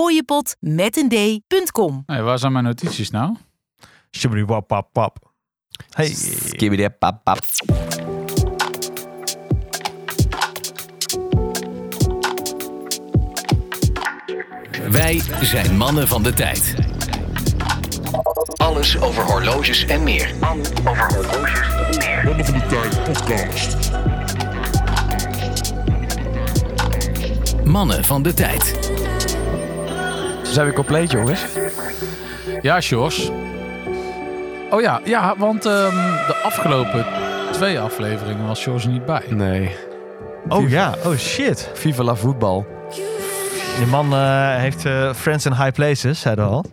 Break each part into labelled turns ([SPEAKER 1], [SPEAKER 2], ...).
[SPEAKER 1] fooiepot met een d.com.
[SPEAKER 2] Hey, waar zijn mijn notities nou?
[SPEAKER 3] Shibbity wap pap pap. Hey.
[SPEAKER 4] Skibbidi pap pap.
[SPEAKER 5] Wij zijn mannen van de tijd. Alles over horloges en meer.
[SPEAKER 6] Mannen van de Tijd podcast.
[SPEAKER 5] Mannen van de tijd.
[SPEAKER 3] Ze zijn weer compleet, jongens.
[SPEAKER 2] Ja, Sjors. Oh ja, ja want ehm, de afgelopen twee afleveringen was Sjors er niet bij.
[SPEAKER 4] Nee.
[SPEAKER 3] Oh ja, oh shit.
[SPEAKER 4] Viva la voetbal.
[SPEAKER 3] Die man eh, heeft eh, Friends in High Places, zeiden we al.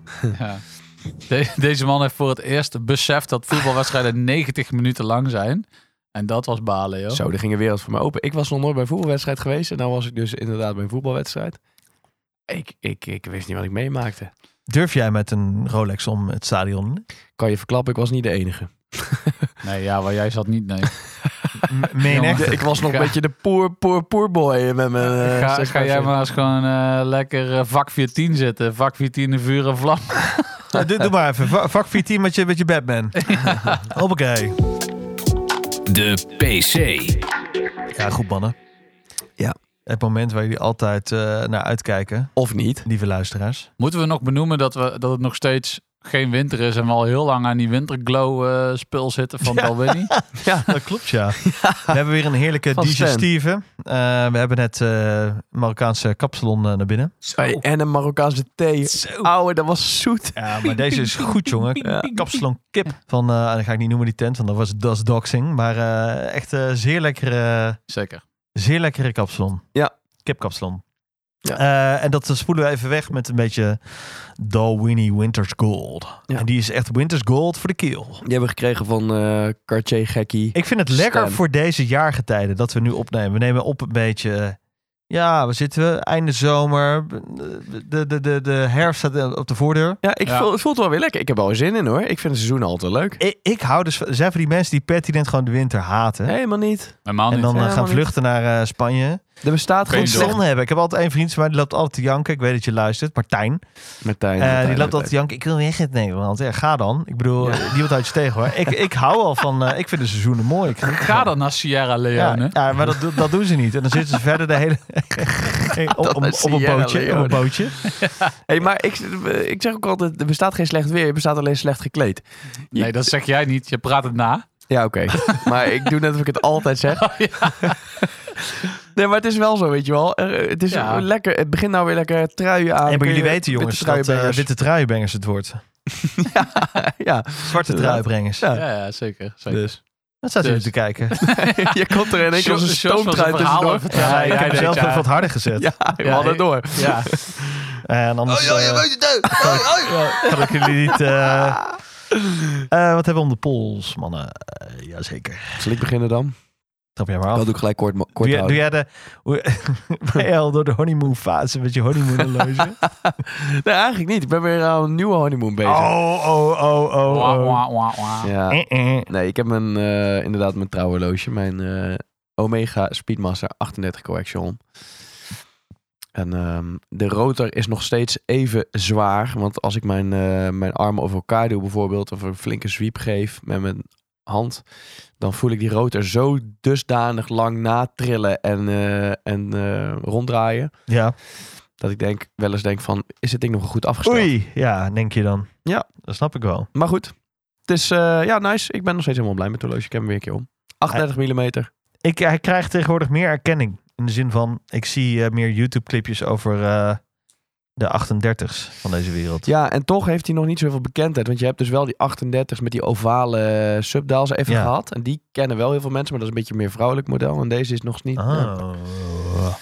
[SPEAKER 2] De- deze man heeft voor het eerst beseft dat voetbalwedstrijden 90 minuten lang zijn. En dat was balen, joh.
[SPEAKER 4] Zo, er ging een wereld voor me open. Ik was nog nooit bij een voetbalwedstrijd geweest. En nou was ik dus inderdaad bij een voetbalwedstrijd. Ik, ik, ik wist niet wat ik meemaakte.
[SPEAKER 3] Durf jij met een Rolex om het stadion?
[SPEAKER 4] Kan je verklappen, ik was niet de enige.
[SPEAKER 2] Nee, ja, waar jij zat niet, nee.
[SPEAKER 3] Meen
[SPEAKER 2] Ja,
[SPEAKER 3] echt?
[SPEAKER 4] Ik was nog
[SPEAKER 2] Ga-
[SPEAKER 4] een beetje de poor, poor, poor boy met mijn... eh,
[SPEAKER 2] Ga,
[SPEAKER 4] zes
[SPEAKER 2] ga jij
[SPEAKER 4] vijf-
[SPEAKER 2] maar eens gewoon eh, lekker eh, vak 410 zitten. Vak 410 in vuur en vlam.
[SPEAKER 3] Nou, doe, doe maar even. Va- Vak 14 met je, met je Batman. Hoppakee.
[SPEAKER 5] De PC.
[SPEAKER 3] Ja, goed mannen.
[SPEAKER 4] Ja.
[SPEAKER 3] Het moment waar jullie altijd eh, naar uitkijken,
[SPEAKER 4] Of niet.
[SPEAKER 3] lieve luisteraars.
[SPEAKER 2] Moeten we nog benoemen dat, we, dat het nog steeds geen winter is en we al heel lang aan die winterglow eh, spul zitten van Dalwinnie?
[SPEAKER 3] Ja, dat klopt ja. We hebben weer een heerlijke
[SPEAKER 4] Van Sven.
[SPEAKER 3] digestieve. Eh, we hebben net eh, Marokkaanse kapsalon eh, naar binnen.
[SPEAKER 4] Hey, en een Marokkaanse thee. Ouwe, dat was zoet.
[SPEAKER 3] Ja, maar deze is goed jongen.
[SPEAKER 4] Ja.
[SPEAKER 3] Kapsalon kip. Van, eh dat ga ik niet noemen die tent, want dat was das doxing. Maar eh, echt eh, zeer lekkere...
[SPEAKER 2] Zeker.
[SPEAKER 3] Zeer lekkere kapsalon.
[SPEAKER 4] Ja.
[SPEAKER 3] Kipkapsalon.
[SPEAKER 4] Ja.
[SPEAKER 3] Eh, en dat spoelen we even weg met een beetje Dalwhinnie Winters Gold.
[SPEAKER 4] Ja.
[SPEAKER 3] En die is echt Winters Gold voor de keel.
[SPEAKER 4] Die hebben we gekregen van eh Cartier Gekkie.
[SPEAKER 3] Ik vind het lekker
[SPEAKER 4] Stem.
[SPEAKER 3] voor deze jaargetijden dat we nu opnemen. We nemen op een beetje... eh, Ja, we zitten we? Einde zomer. De, de, de, de herfst staat op de voordeur.
[SPEAKER 4] Ja, ik
[SPEAKER 2] Ja.
[SPEAKER 4] Voel, het voelt wel weer lekker. Ik heb er wel zin in hoor. Ik vind het seizoen altijd leuk.
[SPEAKER 3] Ik, ik hou dus... van- Er zijn van die mensen die pertinent gewoon de winter haten.
[SPEAKER 4] Helemaal niet.
[SPEAKER 2] Normaal
[SPEAKER 3] en
[SPEAKER 2] niet.
[SPEAKER 3] dan eh,
[SPEAKER 4] Helemaal
[SPEAKER 3] gaan
[SPEAKER 4] niet.
[SPEAKER 3] vluchten naar eh, Spanje.
[SPEAKER 4] Er bestaat geen
[SPEAKER 2] Geen
[SPEAKER 4] slecht...
[SPEAKER 3] Zon hebben. Ik heb altijd één vriend van mij, die loopt altijd te janken. Ik weet dat je luistert. Martijn.
[SPEAKER 4] Martijn,
[SPEAKER 3] Eh,
[SPEAKER 4] Martijn,
[SPEAKER 3] die loopt altijd
[SPEAKER 4] Martijn.
[SPEAKER 3] te janken. Ik wil weg uit Nederland. Ja, ga dan. Ik bedoel, eh, niemand houdt je tegen hoor. Ik, ik hou al van... eh, ik vind de seizoenen mooi. Ik,
[SPEAKER 2] Ga dan naar Sierra Leone.
[SPEAKER 3] ja, ja, maar dat, do- dat doen ze niet. En dan zitten ze verder de hele... op, op,
[SPEAKER 4] is
[SPEAKER 3] op een
[SPEAKER 4] Sierra
[SPEAKER 3] bootje. Op
[SPEAKER 4] Leone.
[SPEAKER 3] een bootje.
[SPEAKER 4] Hey, maar ik, ik zeg ook altijd, er bestaat geen slecht weer. Er bestaat alleen slecht gekleed.
[SPEAKER 2] Nee, dat zeg jij niet. Je praat het na.
[SPEAKER 4] Ja, oké. Oh, maar ik doe net of ik het altijd zeg. Nee, maar het is wel zo, weet je wel. Er- Het is
[SPEAKER 2] Ja.
[SPEAKER 4] lekker. Het begint nou weer lekker truien aan.
[SPEAKER 3] En
[SPEAKER 4] Kun
[SPEAKER 3] maar
[SPEAKER 4] je
[SPEAKER 3] jullie weten
[SPEAKER 4] witte
[SPEAKER 3] jongens dat eh
[SPEAKER 4] truienbengers-
[SPEAKER 3] witte truienbengers het wordt.
[SPEAKER 4] ja,
[SPEAKER 3] Zwarte truienbrengers.
[SPEAKER 4] Ja.
[SPEAKER 2] Ja, ja zeker. zeker.
[SPEAKER 4] dus.
[SPEAKER 3] Dat staat jullie
[SPEAKER 2] Dus.
[SPEAKER 3] te kijken.
[SPEAKER 4] je komt er in één keer als een
[SPEAKER 2] Sjors- Sjors was
[SPEAKER 4] stoomtruin
[SPEAKER 2] een verhaal
[SPEAKER 4] tussendoor.
[SPEAKER 2] over
[SPEAKER 3] Ja,
[SPEAKER 2] Ja,
[SPEAKER 3] ik
[SPEAKER 2] jij
[SPEAKER 3] heb hem
[SPEAKER 2] weet,
[SPEAKER 3] zelf
[SPEAKER 2] ja.
[SPEAKER 3] even wat harder gezet.
[SPEAKER 4] Ja, we hadden het door.
[SPEAKER 2] Ja,
[SPEAKER 3] En anders eh, kan ik jullie niet... eh, eh, wat hebben we om de pols, mannen? Eh, jazeker.
[SPEAKER 4] Zal ik beginnen dan?
[SPEAKER 3] Trap jij maar af.
[SPEAKER 4] Dat doe ik gelijk kort, kort
[SPEAKER 3] Doe jij,
[SPEAKER 4] houden.
[SPEAKER 3] doe jij de, hoe- ben jij al door de honeymoon fase met je honeymoon horloge?
[SPEAKER 4] Nee, eigenlijk niet. Ik ben weer aan een nieuwe honeymoon bezig.
[SPEAKER 3] oh, oh, oh, oh.
[SPEAKER 2] Wah,
[SPEAKER 3] oh.
[SPEAKER 2] wah, wah, wah.
[SPEAKER 4] Ja.
[SPEAKER 3] Eh, eh.
[SPEAKER 4] Nee, ik heb mijn, eh, inderdaad mijn trouwhorloge. Mijn eh, Omega Speedmaster 38 Collection. En ehm, de rotor is nog steeds even zwaar. Want als ik mijn, eh, mijn armen over elkaar doe bijvoorbeeld... of een flinke sweep geef met mijn hand... dan voel ik die rotor zo dusdanig lang natrillen en, eh, en eh, ronddraaien...
[SPEAKER 3] Ja.
[SPEAKER 4] dat ik denk, wel eens denk van... is dit ding nog wel goed afgesteld?
[SPEAKER 3] Oei. Ja, denk je dan.
[SPEAKER 4] Ja.
[SPEAKER 3] Dat snap ik wel.
[SPEAKER 4] Maar goed, het is eh, ja, nice. Ik ben nog steeds helemaal blij met het horloge. Ik heb hem weer een keer om. 38 mm.
[SPEAKER 3] Ik, eh, hij krijgt tegenwoordig meer erkenning. In de zin van, ik zie eh, meer YouTube-clipjes over eh, de 38's van deze wereld.
[SPEAKER 4] Ja, en toch heeft hij nog niet zoveel bekendheid. Want je hebt dus wel die 38's met die ovale eh, subdials even
[SPEAKER 3] Ja.
[SPEAKER 4] gehad. En die kennen wel heel veel mensen, maar dat is een beetje een meer vrouwelijk model. En deze is nog niet. eh.
[SPEAKER 3] Oh.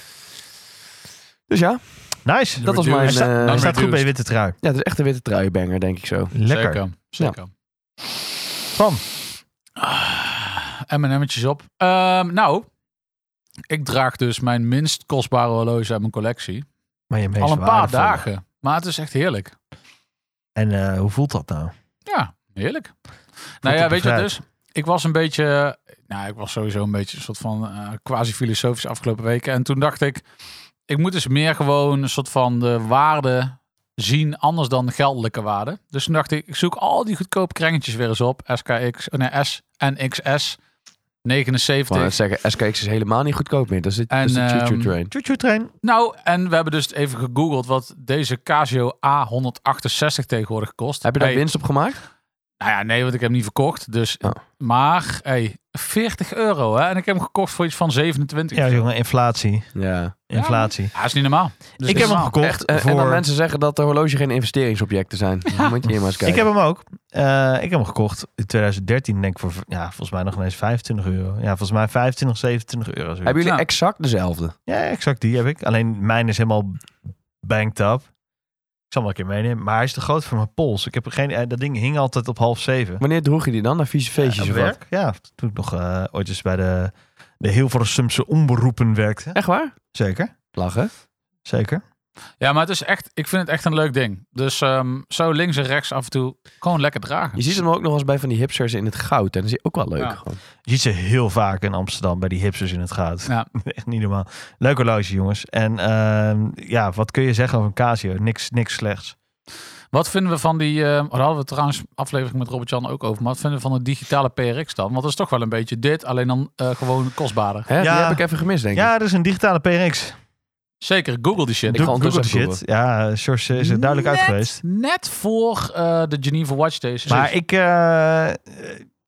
[SPEAKER 4] Dus ja,
[SPEAKER 3] Nice.
[SPEAKER 4] dat was mijn...
[SPEAKER 3] Hij staat-
[SPEAKER 4] eh,
[SPEAKER 3] hij staat goed
[SPEAKER 2] reduced.
[SPEAKER 3] bij je witte trui.
[SPEAKER 4] ja, het is echt een witte truienbanger, denk ik zo.
[SPEAKER 3] Lekker.
[SPEAKER 2] Zeker. zeker.
[SPEAKER 3] Van.
[SPEAKER 2] En mijn emmertjes Ah, op. Ehm, nou, ik draag dus mijn minst kostbare horloge uit mijn collectie.
[SPEAKER 3] Maar je meest
[SPEAKER 2] Al een paar
[SPEAKER 3] waardevolle.
[SPEAKER 2] dagen. Maar het is echt heerlijk.
[SPEAKER 3] En eh, hoe voelt dat nou?
[SPEAKER 2] Ja, heerlijk. nou ja,
[SPEAKER 3] het
[SPEAKER 2] weet je wat
[SPEAKER 3] bevrijd?
[SPEAKER 2] dus? Ik was een beetje, nou, ik was sowieso een beetje een soort van eh, quasi-filosofisch afgelopen weken. En toen dacht ik, ik moet dus meer gewoon een soort van de waarde zien, anders dan de geldelijke waarde. Dus toen dacht ik, ik zoek al die goedkope krengetjes weer eens op. SKX, oh nee, S en XS,
[SPEAKER 4] Maar
[SPEAKER 2] 79.
[SPEAKER 4] zeggen, SKX is helemaal niet goedkoop meer. Dat is,
[SPEAKER 2] En,
[SPEAKER 4] dat is de choo-choo
[SPEAKER 2] ehm,
[SPEAKER 4] train.
[SPEAKER 3] Choo-choo trein.
[SPEAKER 2] Nou, en we hebben dus even gegoogeld wat deze Casio A168 tegenwoordig kost.
[SPEAKER 4] Heb je daar
[SPEAKER 2] Hey,
[SPEAKER 4] winst op gemaakt?
[SPEAKER 2] Nou ja, nee, want ik heb hem niet verkocht. Dus,
[SPEAKER 4] Oh.
[SPEAKER 2] Maar, hey, 40 euro hè. En ik heb hem gekocht voor iets van 27.
[SPEAKER 3] Ja, jongen, inflatie.
[SPEAKER 4] Ja.
[SPEAKER 3] Inflatie.
[SPEAKER 2] Ja, is niet normaal. Dus
[SPEAKER 3] ik
[SPEAKER 2] niet
[SPEAKER 3] heb hem
[SPEAKER 2] normaal.
[SPEAKER 3] gekocht
[SPEAKER 4] Echt, eh, en, en
[SPEAKER 3] voor...
[SPEAKER 4] dan mensen zeggen dat de horloge geen investeringsobjecten zijn. Dan moet je hier maar eens
[SPEAKER 3] ik
[SPEAKER 4] kijken.
[SPEAKER 3] heb hem ook. Eh, ik heb hem gekocht in 2013, denk ik, voor ja, volgens mij nog ineens 25 euro. Ja, volgens mij 25, 27 euro. zoiets.
[SPEAKER 4] Hebben jullie
[SPEAKER 2] Ja.
[SPEAKER 4] exact dezelfde?
[SPEAKER 3] Ja, exact die heb ik. Alleen mijn is helemaal banked up. Ik zal hem wel een keer meenemen. Maar hij is te groot voor mijn pols. Ik heb er geen, eh, dat ding hing altijd op half zeven.
[SPEAKER 4] Wanneer droeg je die dan? Naar vieze feestjes
[SPEAKER 3] Ja,
[SPEAKER 4] of wat?
[SPEAKER 3] werk? Ja, toen ik nog eh ooit eens bij de, de Hilversumse omberoepen werkte.
[SPEAKER 4] Echt waar?
[SPEAKER 3] Zeker,
[SPEAKER 4] Lachen.
[SPEAKER 3] zeker.
[SPEAKER 2] Ja, maar het is echt, ik vind het echt een leuk ding. Dus ehm, zo links en rechts af en toe gewoon lekker dragen.
[SPEAKER 4] Je ziet hem ook nog eens bij van die hipsters in het goud. En dat is ook wel leuk.
[SPEAKER 2] Ja.
[SPEAKER 4] gewoon.
[SPEAKER 3] Je ziet ze heel vaak in Amsterdam bij die hipsters in het goud.
[SPEAKER 2] Ja.
[SPEAKER 3] Echt niet normaal. Leuk horloge, jongens. En ehm, ja, wat kun je zeggen over een Casio? Niks, niks slechts.
[SPEAKER 2] Wat vinden we van die, eh, daar hadden we trouwens aflevering met Robert-Jan ook over, maar wat vinden we van de digitale PRX dan? Want dat is toch wel een beetje dit, alleen dan eh, gewoon kostbaarder.
[SPEAKER 4] Hè?
[SPEAKER 3] Ja.
[SPEAKER 4] Die heb ik even gemist, denk ik.
[SPEAKER 3] Ja, er is een digitale PRX.
[SPEAKER 2] Zeker, Google die shit.
[SPEAKER 4] Ik ga ondertussen
[SPEAKER 3] Google
[SPEAKER 4] googlen.
[SPEAKER 3] shit. Ja, George is er duidelijk uit
[SPEAKER 2] Net-
[SPEAKER 3] geweest.
[SPEAKER 2] Net voor eh, de Geneva Watch Days.
[SPEAKER 3] Maar ik, eh, eh,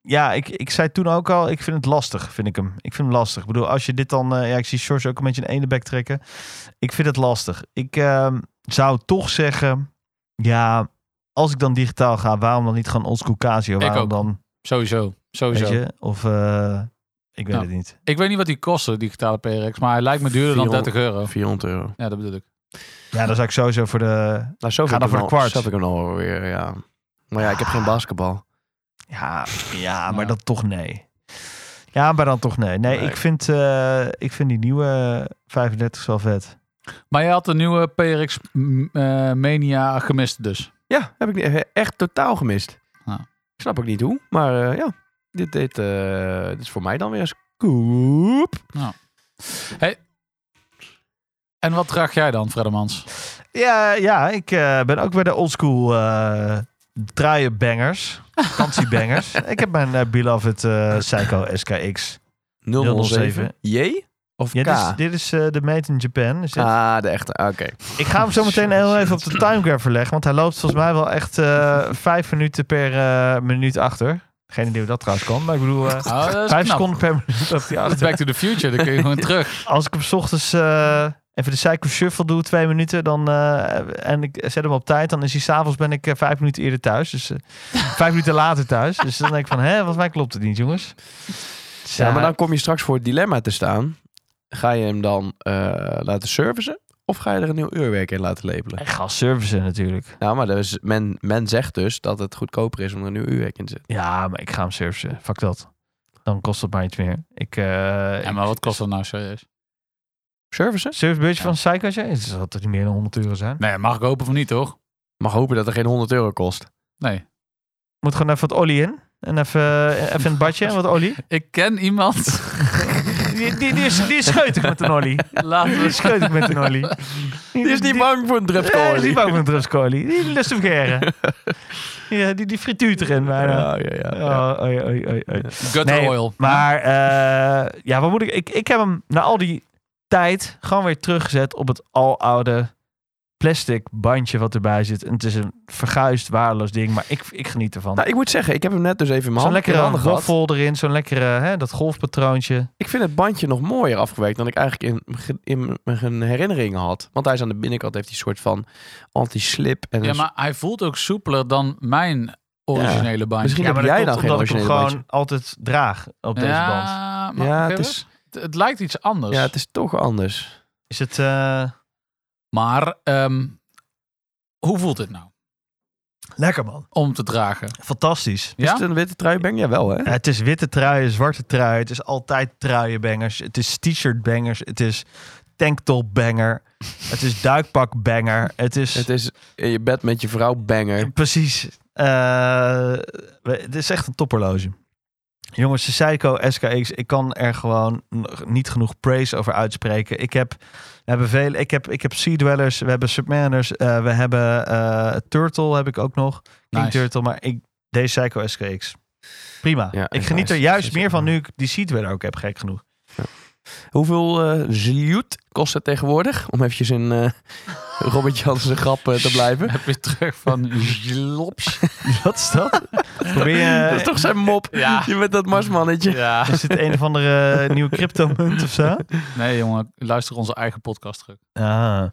[SPEAKER 3] ja, ik, ik zei toen ook al, ik vind het lastig, vind ik hem. Ik vind hem lastig. Ik bedoel, als je dit dan, eh, ja, ik zie George ook een beetje een ene bek trekken. Ik vind het lastig. Ik ehm, zou toch zeggen, ja, als ik dan digitaal ga, waarom dan niet gewoon oldschool Casio?
[SPEAKER 2] Ik
[SPEAKER 3] Waarom
[SPEAKER 2] ook.
[SPEAKER 3] dan,
[SPEAKER 2] Sowieso, sowieso.
[SPEAKER 3] weet je, of eh, ik weet
[SPEAKER 2] Ja.
[SPEAKER 3] het niet.
[SPEAKER 2] Ik weet niet wat die kosten, de digitale PRX, maar hij lijkt me duurder dan
[SPEAKER 4] 400
[SPEAKER 2] 30 euro.
[SPEAKER 4] 400 euro.
[SPEAKER 2] Ja, dat bedoel ik.
[SPEAKER 3] Ja, dan zou ik sowieso voor de,
[SPEAKER 4] Nou, zo vind ik
[SPEAKER 3] Ga dan voor
[SPEAKER 4] hem
[SPEAKER 3] de
[SPEAKER 4] al-
[SPEAKER 3] kwart.
[SPEAKER 4] Zo vind ik hem alweer, ja. Maar ja, ik heb geen
[SPEAKER 3] Ah.
[SPEAKER 4] basketbal.
[SPEAKER 3] ja, ja, maar
[SPEAKER 2] Ja.
[SPEAKER 3] dat toch nee. Ja, maar dan toch nee. Nee,
[SPEAKER 4] Nee.
[SPEAKER 3] Ik, vind, eh, ik vind die nieuwe 35 wel vet.
[SPEAKER 2] Maar je had de nieuwe PRX m, eh, Mania gemist dus.
[SPEAKER 4] Ja, heb ik niet- echt totaal gemist.
[SPEAKER 2] Ja.
[SPEAKER 4] Ik snap ook niet hoe, maar eh, ja. Dit, dit, eh, dit is voor mij dan weer een scoop.
[SPEAKER 2] En wat draag jij dan, Freddermans?
[SPEAKER 3] Ja, ja ik eh, ben ook bij de oldschool eh truienbangers. Vakantiebangers. ik heb mijn eh Beloved eh, Psycho SKX. 007.
[SPEAKER 4] J of
[SPEAKER 3] Ja,
[SPEAKER 4] K?
[SPEAKER 3] dit is, dit is eh, de Made in Japan. Is dit.
[SPEAKER 4] Ah, de echte. Ah, Oké.
[SPEAKER 3] Ik ga hem zo meteen heel even op de timegraph verleggen. Want hij loopt volgens mij wel echt eh, vijf minuten per eh, minuut achter. Geen idee hoe dat trouwens kan. Maar ik bedoel, eh,
[SPEAKER 2] Ah, dat is
[SPEAKER 3] vijf
[SPEAKER 2] knap.
[SPEAKER 3] seconden per minuut loopt hij
[SPEAKER 2] Dat is
[SPEAKER 3] achter.
[SPEAKER 2] Back to the Future, dan kun je gewoon terug.
[SPEAKER 3] Als ik hem 's ochtends eh, even de Psycho Shuffle doe, twee minuten, dan, eh, en ik zet hem op tijd, dan is hij s'avonds ben ik eh, vijf minuten eerder thuis. Dus eh, vijf minuten later thuis. Dus dan denk ik van, hé, volgens mij klopt het niet, jongens. Dus,
[SPEAKER 4] Ja,
[SPEAKER 3] ja,
[SPEAKER 4] maar dan kom je straks voor het dilemma te staan. Ga je hem dan eh, laten servicen? Of ga je er een nieuw uurwerk in laten labelen?
[SPEAKER 3] en ga servicen natuurlijk.
[SPEAKER 4] Nou, maar dus, men, men zegt dus dat het goedkoper is om er een nieuw uurwerk in te zetten.
[SPEAKER 3] Ja, maar ik ga hem servicen. Fuck dat. Dan kost het mij iets meer. Ik, eh
[SPEAKER 2] Ja, maar wat kost dat nou serieus?
[SPEAKER 4] Servicen?
[SPEAKER 3] Servicebudget van Psycho, als jij- het zal toch niet meer dan 100 euro zijn?
[SPEAKER 2] Nee, mag ik hopen of niet, toch?
[SPEAKER 4] Mag hopen dat er geen 100 euro kost.
[SPEAKER 2] Nee.
[SPEAKER 3] Moet gewoon even wat olie in. En even, eh, even in het badje, wat olie.
[SPEAKER 2] Ik ken iemand.
[SPEAKER 3] Die, die, die, is, die is scheutig met een olie.
[SPEAKER 2] Laten
[SPEAKER 3] Die is
[SPEAKER 2] we...
[SPEAKER 3] scheutig met een olie.
[SPEAKER 4] Die is niet bang voor een
[SPEAKER 3] Nee, die is
[SPEAKER 4] drupkolie.
[SPEAKER 3] niet bang voor een druskolie. Die lust hem geren. ja, die, die frituurt erin bijna.
[SPEAKER 4] Ja, ja, ja. ja.
[SPEAKER 3] Oh, oei, oei, oei, oei.
[SPEAKER 2] Gutter
[SPEAKER 3] Nee,
[SPEAKER 2] oil.
[SPEAKER 3] Maar dus- eh, ja, wat moet ik, ik... Ik heb hem na al die tijd gewoon weer teruggezet op het aloude plastic bandje wat erbij zit. En het is een verguisd, waardeloos ding, maar ik, ik geniet ervan.
[SPEAKER 4] Nou, ik moet zeggen, ik heb hem net dus even in mijn
[SPEAKER 3] zo'n
[SPEAKER 4] handen, in mijn
[SPEAKER 3] lekkere
[SPEAKER 4] handen gehad.
[SPEAKER 3] waffel erin, zo'n lekkere, hè, dat golfpatroontje.
[SPEAKER 4] Ik vind het bandje nog mooier afgewerkt dan ik eigenlijk in, mijn ge- in mijn herinneringen had. Want hij is aan de binnenkant, heeft die soort van anti-slip. En
[SPEAKER 2] Ja,
[SPEAKER 4] een-
[SPEAKER 2] maar hij voelt ook soepeler dan mijn originele bandje.
[SPEAKER 4] Misschien heb jij dan geen
[SPEAKER 3] omdat ik hem
[SPEAKER 4] originele
[SPEAKER 3] gewoon
[SPEAKER 4] bandje.
[SPEAKER 3] altijd draag op deze band.
[SPEAKER 2] maar
[SPEAKER 4] Ja, het
[SPEAKER 2] het,
[SPEAKER 4] is,
[SPEAKER 2] het lijkt iets anders.
[SPEAKER 4] ja, het is toch anders.
[SPEAKER 3] Is het... eh,
[SPEAKER 2] Maar ehm, hoe voelt het nou
[SPEAKER 3] Lekker man.
[SPEAKER 2] om te dragen?
[SPEAKER 3] Fantastisch.
[SPEAKER 4] Is
[SPEAKER 2] Ja?
[SPEAKER 4] het een witte truibang? Jawel, hè?
[SPEAKER 3] Ja, het is witte truien, zwarte trui. Het is altijd truienbangers. Het is t-shirt bangers. Het is tanktop banger. Het is duikpak banger. Het is,
[SPEAKER 4] Het is in je bed met je vrouw banger.
[SPEAKER 3] precies. eh, we- het is echt een topperloge. Jongens, de Seiko SKX, ik kan er gewoon nog niet genoeg praise over uitspreken. Ik heb, we hebben veel, ik heb, ik heb Sea Dwellers, we hebben Submariners, eh, we hebben eh, Turtle heb ik ook nog, King
[SPEAKER 2] Nice.
[SPEAKER 3] Turtle, maar ik, deze Seiko SKX, prima.
[SPEAKER 4] Ja,
[SPEAKER 3] ik
[SPEAKER 4] en
[SPEAKER 3] geniet
[SPEAKER 4] nice.
[SPEAKER 3] er juist
[SPEAKER 4] Is
[SPEAKER 3] meer
[SPEAKER 4] ook
[SPEAKER 3] van
[SPEAKER 4] mooi.
[SPEAKER 3] nu ik die Sea Dweller ook heb, gek genoeg.
[SPEAKER 4] Hoeveel eh ziljoet kost het tegenwoordig? Om eventjes in eh Robert Jansen grap eh, te blijven.
[SPEAKER 2] Heb je terug van Jlops.
[SPEAKER 3] Wat is dat? Probeer
[SPEAKER 4] Dat is
[SPEAKER 3] je,
[SPEAKER 4] toch zijn mop?
[SPEAKER 2] Ja.
[SPEAKER 4] Je bent dat marsmannetje.
[SPEAKER 2] Ja.
[SPEAKER 3] is dit een of andere eh, nieuwe cryptomunt of zo?
[SPEAKER 2] Nee, jongen, luister onze eigen podcast terug.
[SPEAKER 3] Ah.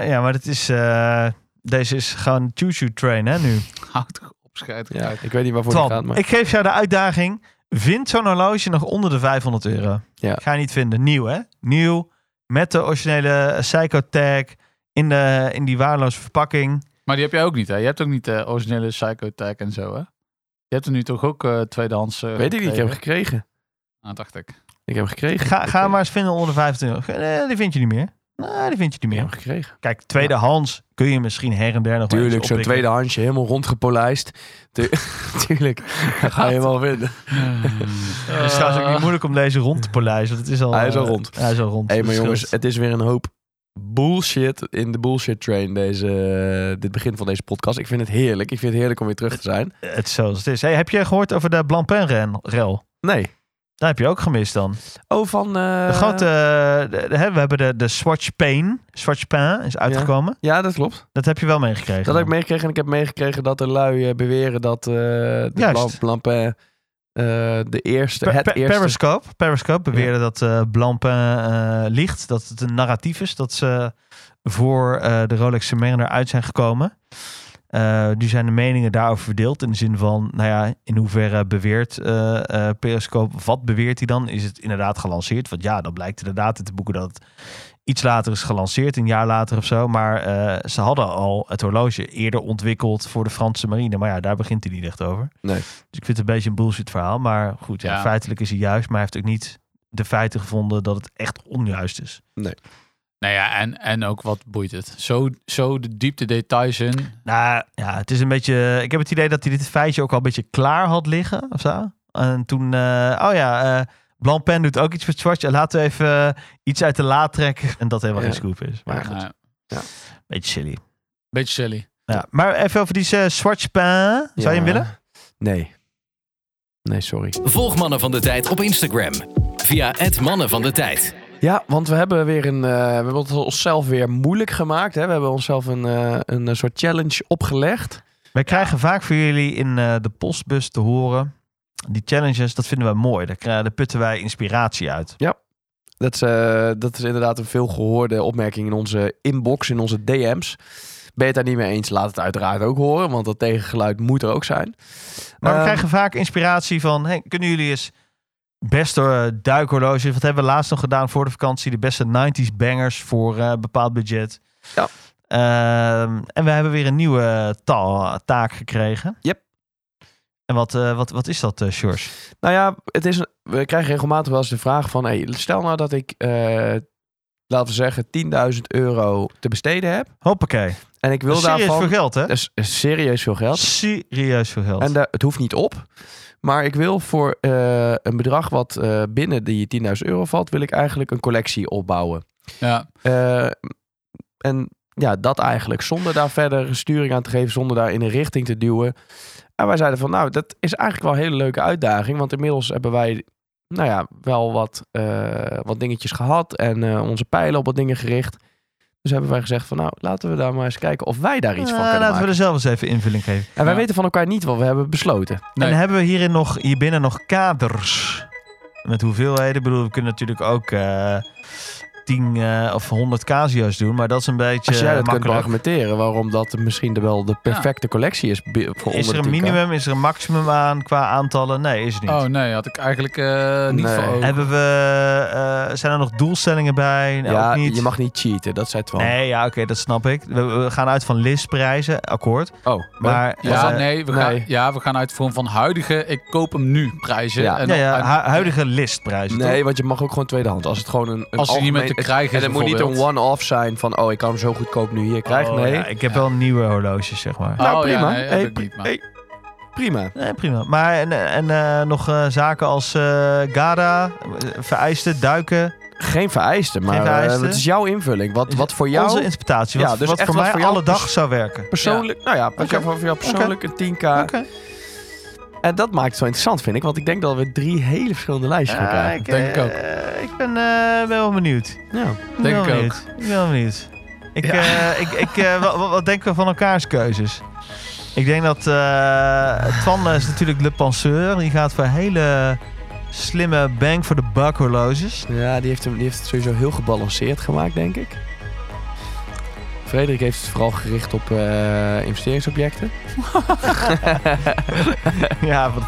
[SPEAKER 3] Eh, ja, maar het is, eh, deze is gewoon choo-choo train hè nu.
[SPEAKER 2] Houd toch op, scheid.
[SPEAKER 4] Ja, ik weet niet waarvoor
[SPEAKER 3] Twan,
[SPEAKER 4] het gaat, maar
[SPEAKER 3] ik geef jou de uitdaging. Vind zo'n horloge nog onder de 500 euro.
[SPEAKER 4] Ja.
[SPEAKER 3] Ga je niet vinden. Nieuw, hè? Nieuw. Met de originele Psycho Tag. In, de, in die waardeloze verpakking.
[SPEAKER 2] Maar die heb jij ook niet, hè? Je hebt ook niet de originele Psychotech en zo, hè? Je hebt er nu toch ook eh, tweedehands. eh,
[SPEAKER 4] weet ik niet. Ik heb
[SPEAKER 2] gekregen? Ah,
[SPEAKER 4] hem gekregen.
[SPEAKER 2] dacht ik.
[SPEAKER 4] Ik heb hem gekregen.
[SPEAKER 3] Ga, ga hem maar eens vinden onder de 25 euro. Nee, die vind je niet meer. Nee, die vind je niet
[SPEAKER 4] Ik heb
[SPEAKER 3] meer.
[SPEAKER 4] hem gekregen.
[SPEAKER 3] Kijk, tweedehands kun je misschien her en der nog wel eens
[SPEAKER 4] Tuurlijk, zo'n
[SPEAKER 3] oppikken.
[SPEAKER 4] tweedehandsje, helemaal rondgepolijst. Tu- Tuurlijk, dat ga je wel vinden.
[SPEAKER 3] Het
[SPEAKER 2] Dus
[SPEAKER 3] is trouwens ook niet moeilijk om deze rond te polijsten. want Het is al,
[SPEAKER 4] Hij is al
[SPEAKER 3] eh,
[SPEAKER 4] rond.
[SPEAKER 3] Hij is al rond.
[SPEAKER 4] Hé, hey,
[SPEAKER 3] Dat
[SPEAKER 4] maar jongens,
[SPEAKER 3] scheelt.
[SPEAKER 4] het is weer een hoop bullshit in de bullshit train, deze, eh, dit begin van deze podcast. Ik vind het heerlijk. Ik vind het heerlijk om weer terug te zijn.
[SPEAKER 3] Het is zoals het is. Hey, heb je gehoord over de Blancpain-rel?
[SPEAKER 4] Nee.
[SPEAKER 3] Daar heb je ook gemist dan.
[SPEAKER 4] Oh, van... eh,
[SPEAKER 3] De grote, de- de- hè, we hebben de, de Swatch Pain. Swatch Pain is uitgekomen.
[SPEAKER 4] Ja, dat klopt.
[SPEAKER 3] Dat heb je wel meegekregen.
[SPEAKER 4] Dat heb ik meegekregen. En ik heb meegekregen dat er lui eh, beweren dat eh de
[SPEAKER 3] Juist.
[SPEAKER 4] Blan- Blancpain, eh, de eerste,
[SPEAKER 3] Per-
[SPEAKER 4] het
[SPEAKER 3] per-
[SPEAKER 4] eerste...
[SPEAKER 3] Periscope, Periscope beweerde dat eh Blancpain eh, liegt. Dat het een narratief is dat ze voor eh, de Rolex Submariner uit zijn gekomen. Eh nu zijn de meningen daarover verdeeld. In de zin van, nou ja, in hoeverre beweert eh, eh, Periscope, wat beweert hij dan? Is het inderdaad gelanceerd? Want ja, dan blijkt inderdaad uit de boeken dat het iets later is gelanceerd, een jaar later of zo. Maar eh, ze hadden al het horloge eerder ontwikkeld voor de Franse marine. Maar ja, daar begint hij niet echt over.
[SPEAKER 4] Nee.
[SPEAKER 3] Dus ik vind het een beetje een bullshit verhaal. Maar goed, ja,
[SPEAKER 2] Ja.
[SPEAKER 3] feitelijk is hij juist. Maar hij heeft ook niet de feiten gevonden dat het echt onjuist is.
[SPEAKER 2] Nou ja, en, en ook wat boeit het. Zo, zo de diepte details in.
[SPEAKER 3] Nou ja, het is een beetje. Ik heb het idee dat hij dit feitje ook al een beetje klaar had liggen of zo. En toen, eh, oh ja, eh Blancpain doet ook iets voor Swatch. En Laten we even eh, iets uit de la trekken. En dat helemaal
[SPEAKER 4] Ja.
[SPEAKER 3] geen scoop is. Maar goed,
[SPEAKER 2] Nou,
[SPEAKER 3] beetje silly.
[SPEAKER 2] beetje silly.
[SPEAKER 3] Ja, maar even over die eh, Swatch Pain. Zou je hem
[SPEAKER 4] Ja.
[SPEAKER 3] willen?
[SPEAKER 4] Nee. Nee, sorry.
[SPEAKER 5] Volg Mannen van de Tijd op Instagram. Via het Mannen van de Tijd.
[SPEAKER 4] Ja, want we hebben weer een. eh, we hebben het onszelf weer moeilijk gemaakt. Hè? We hebben onszelf een, eh, een eh, soort challenge opgelegd.
[SPEAKER 3] Wij krijgen vaak voor jullie in eh, de postbus te horen. Die challenges, dat vinden wij mooi. Daar, krijgen- daar putten wij inspiratie uit.
[SPEAKER 4] Dat, is, eh, dat is inderdaad een veelgehoorde opmerking in onze inbox, in onze DM's. Ben je het daar niet mee eens? Laat het uiteraard ook horen, want dat tegengeluid moet er ook zijn.
[SPEAKER 3] Maar we
[SPEAKER 4] Ehm,
[SPEAKER 3] krijgen vaak inspiratie van... Hey, kunnen jullie eens beste eh, duikhorloges... Wat hebben we laatst nog gedaan voor de vakantie? De beste 90s bangers voor eh, bepaald budget.
[SPEAKER 4] Ja.
[SPEAKER 3] Ehm, en we hebben weer een nieuwe ta- taak gekregen.
[SPEAKER 4] Yep.
[SPEAKER 3] En wat, eh, wat, wat is dat, eh George?
[SPEAKER 4] Nou ja, het is, een- we krijgen regelmatig wel eens de vraag van... Hey, stel nou dat ik, eh, laten we zeggen, 10.000 euro te besteden heb.
[SPEAKER 3] Hoppakee.
[SPEAKER 4] En ik wil
[SPEAKER 3] Dat is serieus
[SPEAKER 4] daarvan...
[SPEAKER 3] veel geld, hè?
[SPEAKER 4] dat is serieus veel geld.
[SPEAKER 3] Serieus veel geld.
[SPEAKER 4] En daar- het hoeft niet op. Maar ik wil voor eh, een bedrag wat eh, binnen die 10.000 euro valt, wil ik eigenlijk een collectie opbouwen.
[SPEAKER 2] Ja,
[SPEAKER 4] Eh, en ja, dat eigenlijk. Zonder daar verder sturing aan te geven, zonder daar in een richting te duwen. En wij zeiden van, nou, dat is eigenlijk wel een hele leuke uitdaging. Want inmiddels hebben wij, nou ja, wel wat, eh, wat dingetjes gehad. En eh, onze pijlen op wat dingen gericht. Dus hebben wij gezegd van, nou, laten we daar maar eens kijken of wij daar iets van
[SPEAKER 3] Eh,
[SPEAKER 4] kunnen
[SPEAKER 3] laten we
[SPEAKER 4] maken.
[SPEAKER 3] er zelf eens even invulling geven.
[SPEAKER 4] En wij
[SPEAKER 2] Ja.
[SPEAKER 4] weten van elkaar niet wat we hebben besloten.
[SPEAKER 2] Nee.
[SPEAKER 3] En hebben we hierin nog, hierbinnen nog kaders? Met hoeveelheden? Ik bedoel, we kunnen natuurlijk ook eh 10 eh, of 100 casio's doen, maar dat is een beetje
[SPEAKER 4] Als jij dat kunt
[SPEAKER 3] makkelijk.
[SPEAKER 4] argumenteren waarom dat misschien de- wel de perfecte collectie is bi- voor
[SPEAKER 3] Is
[SPEAKER 4] onder
[SPEAKER 3] er
[SPEAKER 4] de
[SPEAKER 3] een
[SPEAKER 4] 10K.
[SPEAKER 3] minimum, is er een maximum aan qua aantallen? Nee, is er niet.
[SPEAKER 2] oh nee, had ik eigenlijk eh, niet
[SPEAKER 4] Nee.
[SPEAKER 2] voor ogen.
[SPEAKER 3] Hebben we, eh, zijn er nog doelstellingen bij? Nou,
[SPEAKER 4] Ja,
[SPEAKER 3] ook niet.
[SPEAKER 4] je mag niet cheaten, dat zei Twan.
[SPEAKER 3] Nee, ja, oké, dat snap ik. We, we gaan uit van listprijzen, akkoord.
[SPEAKER 4] Oh, maar
[SPEAKER 3] Maar
[SPEAKER 2] Ja,
[SPEAKER 3] eh,
[SPEAKER 2] nee, we
[SPEAKER 4] nee.
[SPEAKER 2] Gaan, ja, we gaan uit vorm van huidige, ik koop hem nu prijzen.
[SPEAKER 4] Ja.
[SPEAKER 2] en,
[SPEAKER 3] ja, ja,
[SPEAKER 2] en
[SPEAKER 3] hu- huidige listprijzen. toch?
[SPEAKER 4] nee, want je mag ook gewoon tweedehands. Als het gewoon een, een
[SPEAKER 2] als hij niet meer te
[SPEAKER 4] algemeen-
[SPEAKER 2] krijgen
[SPEAKER 4] En
[SPEAKER 2] is
[SPEAKER 4] het moet niet een
[SPEAKER 2] bijvoorbeeld.
[SPEAKER 4] one-off zijn van, oh, ik kan hem zo goedkoop nu hier krijgen.
[SPEAKER 3] Oh,
[SPEAKER 4] nee.
[SPEAKER 3] ja, ik heb wel nieuwe horloges, zeg maar.
[SPEAKER 4] Nou,
[SPEAKER 2] Oh, ja,
[SPEAKER 4] prima.
[SPEAKER 2] nee, heb
[SPEAKER 4] Hey,
[SPEAKER 2] ik niet, maar-
[SPEAKER 4] hey. Prima.
[SPEAKER 3] Nee, prima. Maar en, en eh, nog eh, zaken als eh Gara, eh, vereisten, duiken.
[SPEAKER 4] Geen vereisten, maar eh,
[SPEAKER 3] vereisten.
[SPEAKER 4] het is jouw invulling. Wat, wat voor jou
[SPEAKER 3] Onze interpretatie. Wat,
[SPEAKER 4] Ja, dus
[SPEAKER 3] wat
[SPEAKER 4] echt
[SPEAKER 3] voor
[SPEAKER 4] wat
[SPEAKER 3] mij
[SPEAKER 4] voor jou
[SPEAKER 3] alle dag
[SPEAKER 4] pers-
[SPEAKER 3] zou werken.
[SPEAKER 4] persoonlijk... Nou ja, wat
[SPEAKER 3] Oké.
[SPEAKER 4] jou- voor jou persoonlijk een 10k.
[SPEAKER 3] Oké.
[SPEAKER 4] En dat maakt het zo interessant, vind ik. Want ik denk dat we drie hele verschillende lijstjes gaan
[SPEAKER 3] Ja,
[SPEAKER 4] krijgen.
[SPEAKER 3] ik,
[SPEAKER 2] denk ik ook.
[SPEAKER 3] eh, ik ben, eh, ben wel benieuwd.
[SPEAKER 4] Ja.
[SPEAKER 3] Ik ben
[SPEAKER 2] Denk
[SPEAKER 3] wel
[SPEAKER 2] ik ook.
[SPEAKER 3] benieuwd. Ik ben wel benieuwd. Ik, eh, ik, ik, eh, wat, wat- wat denken we van elkaars keuzes? Ik denk dat eh Twan is natuurlijk Le Penseur. Die gaat voor hele slimme bang voor de buck horloges.
[SPEAKER 4] Ja, die heeft, hem, die heeft het sowieso heel gebalanceerd gemaakt, denk ik. Frederik heeft het vooral gericht op eh, investeringsobjecten.
[SPEAKER 3] ja, want,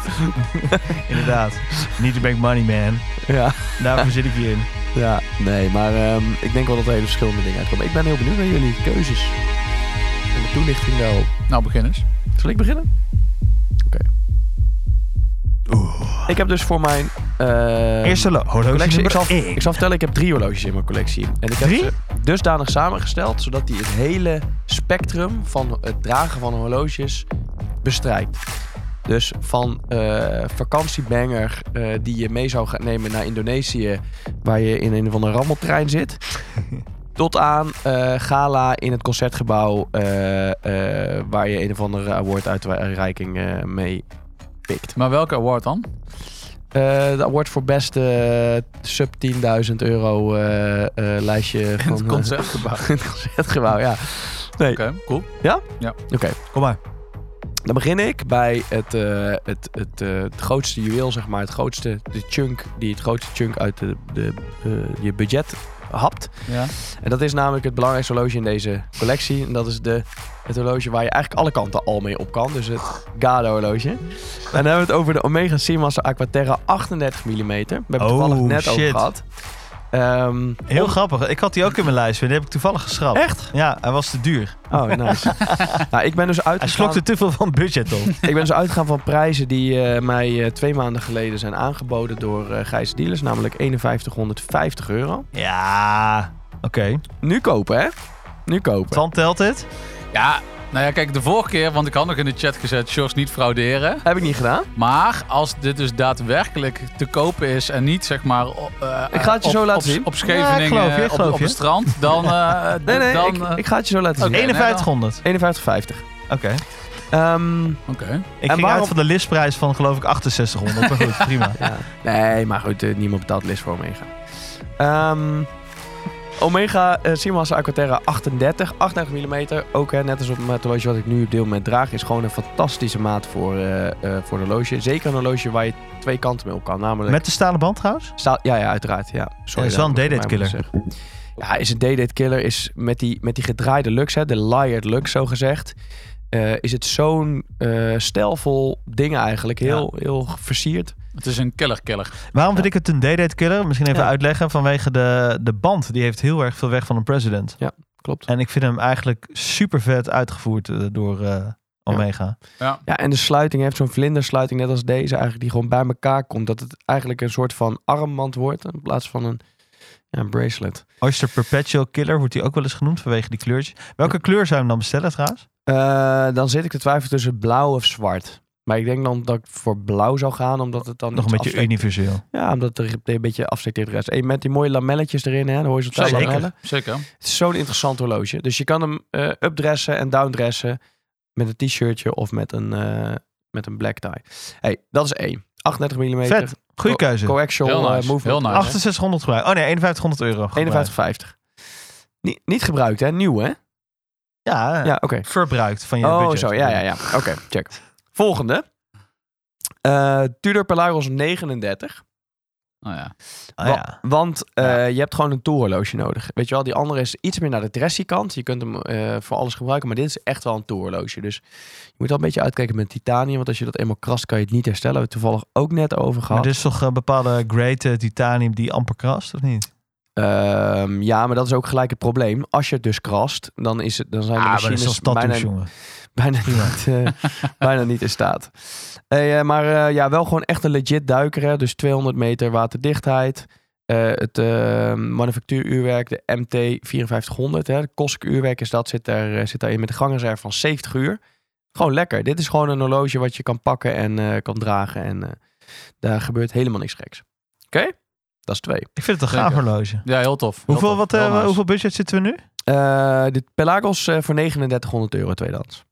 [SPEAKER 3] inderdaad. Need to make money, man.
[SPEAKER 4] Ja.
[SPEAKER 3] Daarvoor zit ik hier in.
[SPEAKER 4] ja, nee, maar ehm, ik denk wel dat er hele verschillende dingen uitkomen. Ik ben heel benieuwd naar jullie keuzes. En de toelichting daarop.
[SPEAKER 2] Nou, begin eens.
[SPEAKER 4] Zal ik beginnen? Oké. Ik heb dus voor mijn... ehm,
[SPEAKER 3] Eerste lo- horloge
[SPEAKER 4] collectie. Ik
[SPEAKER 3] nummer
[SPEAKER 4] zal,
[SPEAKER 3] één.
[SPEAKER 4] ik zal vertellen, ik heb drie horloges in mijn collectie. En ik heb
[SPEAKER 3] Drie?
[SPEAKER 4] ze dusdanig samengesteld, zodat die het hele spectrum van het dragen van horloges bestrijkt. Dus van eh, vakantiebanger eh, die je mee zou gaan nemen naar Indonesië, waar je in een of andere rammeltrein zit. Tot aan eh, gala in het concertgebouw, eh, eh, waar je een of andere awarduitreiking eh mee pikt.
[SPEAKER 2] Maar welke award dan?
[SPEAKER 4] Eh, de award voor beste eh, sub 10.000 euro eh, eh, lijstje van
[SPEAKER 2] het concertgebouw.
[SPEAKER 4] in het concertgebouw, ja. Nee,
[SPEAKER 2] Oké, cool.
[SPEAKER 4] oké.
[SPEAKER 3] Kom maar.
[SPEAKER 4] Dan begin ik bij het, eh, het, het, eh, het grootste juweel, zeg maar. Het grootste, de chunk, die het grootste chunk uit de, de, eh, je budget hapt.
[SPEAKER 2] Ja.
[SPEAKER 4] En dat is namelijk het belangrijkste horloge in deze collectie. En dat is de, het horloge waar je eigenlijk alle kanten al mee op kan. Dus het Gado horloge. En dan hebben we het over de Omega Seamaster Aquaterra 38 mm. We hebben het
[SPEAKER 3] Oh,
[SPEAKER 4] toevallig net over
[SPEAKER 3] shit.
[SPEAKER 4] gehad. Ehm,
[SPEAKER 3] Heel
[SPEAKER 4] on-
[SPEAKER 3] grappig. Ik had die ook in mijn lijst. maar Die heb ik toevallig geschrapt.
[SPEAKER 4] Echt?
[SPEAKER 3] Ja, hij was te duur.
[SPEAKER 4] Oh, nice. nou, ik ben dus
[SPEAKER 3] Hij
[SPEAKER 4] uitgegaan,
[SPEAKER 3] slokte te veel van het budget op.
[SPEAKER 4] ik ben dus uitgegaan van prijzen die eh, mij eh, twee maanden geleden zijn aangeboden door eh Gijs Dealers. Namelijk 5150 euro.
[SPEAKER 3] ja, oké.
[SPEAKER 4] Nu kopen, hè? Nu kopen.
[SPEAKER 3] Twan telt het.
[SPEAKER 2] Ja, nou ja, kijk, de vorige keer, want ik had nog in de chat gezet, Sjors niet frauderen.
[SPEAKER 4] Heb ik niet gedaan.
[SPEAKER 2] Maar als dit dus daadwerkelijk te kopen is en niet, zeg maar, op, eh,
[SPEAKER 4] Ik ga het je
[SPEAKER 2] op-
[SPEAKER 4] zo laten
[SPEAKER 2] op,
[SPEAKER 4] zien.
[SPEAKER 2] Op Scheveningen,
[SPEAKER 3] Ja, ik geloof je, ik
[SPEAKER 2] op,
[SPEAKER 3] geloof
[SPEAKER 2] op
[SPEAKER 3] je.
[SPEAKER 2] het strand, dan... eh,
[SPEAKER 4] Nee, nee,
[SPEAKER 2] dan,
[SPEAKER 4] ik,
[SPEAKER 2] eh,
[SPEAKER 4] ik ga het je zo laten zien.
[SPEAKER 2] Oké. nee,
[SPEAKER 3] 5100.
[SPEAKER 4] 5150.
[SPEAKER 3] Oké.
[SPEAKER 4] Ehm,
[SPEAKER 2] Oké.
[SPEAKER 4] En
[SPEAKER 3] Ik ging
[SPEAKER 4] waarom-
[SPEAKER 3] uit van de listprijs van geloof ik 6800. Maar goed, prima.
[SPEAKER 4] ja. Nee, maar goed, eh, niemand betaalt list voor Omega. Ehm, Omega eh Seamaster Aquaterra 38, 38 mm. Ook hè, net als op het horloge wat ik nu op dit moment draag, is gewoon een fantastische maat voor, eh, eh, voor een horloge. Zeker een horloge waar je twee kanten mee op kan. Namelijk
[SPEAKER 3] Met de stalen band trouwens?
[SPEAKER 4] Staal- ja, ja, uiteraard. Ja. Sorry,
[SPEAKER 3] Ja, is wel een
[SPEAKER 4] daarvoor,
[SPEAKER 3] day-date
[SPEAKER 4] maar ik moet het zeggen. Ja, is een day-date killer. Is met die, met die gedraaide lux, hè, de layered lux zo gezegd. eh, is het zo'n eh stijlvol ding eigenlijk. Heel, heel versierd.
[SPEAKER 2] Het is een killer-killer.
[SPEAKER 3] Waarom vind ik het een day-date killer? Misschien even
[SPEAKER 4] Ja.
[SPEAKER 3] uitleggen. Vanwege de, de band. Die heeft heel erg veel weg van een president.
[SPEAKER 4] Klopt.
[SPEAKER 3] En ik vind hem eigenlijk super vet uitgevoerd eh, door eh, Omega.
[SPEAKER 4] Ja, en de sluiting heeft zo'n vlindersluiting, net als deze eigenlijk, die gewoon bij elkaar komt. Dat het eigenlijk een soort van armband wordt in plaats van een, ja, een bracelet.
[SPEAKER 3] Oyster Perpetual Killer wordt hij ook wel eens genoemd vanwege die kleurtje. Welke kleur zou je hem dan bestellen trouwens?
[SPEAKER 4] Eh, dan zit ik te twijfelen tussen blauw of zwart. Maar ik denk dan dat ik voor blauw zou gaan, omdat het dan
[SPEAKER 3] Nog een
[SPEAKER 4] iets
[SPEAKER 3] beetje
[SPEAKER 4] afstekt-
[SPEAKER 3] universeel.
[SPEAKER 4] Ja, omdat er een beetje afsteekt tegen de rest. Hey, met die mooie lamelletjes erin, hè, de horizontale
[SPEAKER 3] Zeker.
[SPEAKER 4] lamellen.
[SPEAKER 2] Zeker.
[SPEAKER 4] Het is zo'n interessant horloge. Dus je kan hem eh, updressen en downdressen met een t-shirtje of met een, eh, met een black tie. hey, dat is één. 38 mm.
[SPEAKER 3] Vet. Goeie keuze.
[SPEAKER 4] Coaxial
[SPEAKER 2] Heel
[SPEAKER 4] eh,
[SPEAKER 2] nice,
[SPEAKER 4] movement.
[SPEAKER 2] heel nice.
[SPEAKER 3] 6800 gebruikt. Oh nee, 5100 euro. gebruikt.
[SPEAKER 4] 51,50. Niet, niet gebruikt, hè? Nieuw, hè?
[SPEAKER 3] Ja, eh,
[SPEAKER 4] Ja, oké.
[SPEAKER 3] verbruikt van je
[SPEAKER 4] Oh,
[SPEAKER 3] budget.
[SPEAKER 4] zo. Ja, ja, ja. Oké, check. Volgende. Eh, Tudor Polaris 39.
[SPEAKER 2] Nou ja.
[SPEAKER 3] Ah, ja.
[SPEAKER 4] Wa- Want eh, je hebt gewoon een toerhorloge nodig. Weet je wel, die andere is iets meer naar de dressy kant. Je kunt hem eh, voor alles gebruiken, maar dit is echt wel een toerhorloge. Dus je moet wel een beetje uitkijken met titanium. Want als je dat eenmaal krast, kan je het niet herstellen. We hebben het toevallig ook net over
[SPEAKER 3] Maar dus-
[SPEAKER 4] gehad.
[SPEAKER 3] dit is toch een bepaalde grade eh, titanium die amper krast, of niet?
[SPEAKER 4] Ehm, ja, maar dat is ook gelijk het probleem. Als je het dus krast, dan, is het, dan zijn de
[SPEAKER 3] Ah, maar dat
[SPEAKER 4] machines
[SPEAKER 3] is als
[SPEAKER 4] bijna,
[SPEAKER 3] tattoos, jongen.
[SPEAKER 4] bijna, niet, eh, bijna niet in staat. Eh, eh, maar eh, ja, wel gewoon echt een legit duiker. Hè? Dus 200 meter waterdichtheid. Eh, het eh, manufactuuruurwerk, de MT 5400. Hè? Het kostelijk uurwerk is dat, zit, daar, eh, zit daarin met een gangreserve van 70 uur. Gewoon lekker. Dit is gewoon een horloge wat je kan pakken en eh, kan dragen. En eh, daar gebeurt helemaal niks geks. Oké? Dat is twee.
[SPEAKER 3] Ik vind het een gaaf
[SPEAKER 2] Zeker.
[SPEAKER 3] horloge.
[SPEAKER 2] Ja, heel tof. Heel
[SPEAKER 3] Hoeveel,
[SPEAKER 2] tof.
[SPEAKER 3] wat,
[SPEAKER 2] Heel
[SPEAKER 3] eh,
[SPEAKER 2] nice.
[SPEAKER 3] hoeveel budget zitten we nu?
[SPEAKER 4] Eh, dit Pelagos eh, voor 3900 euro tweedehands.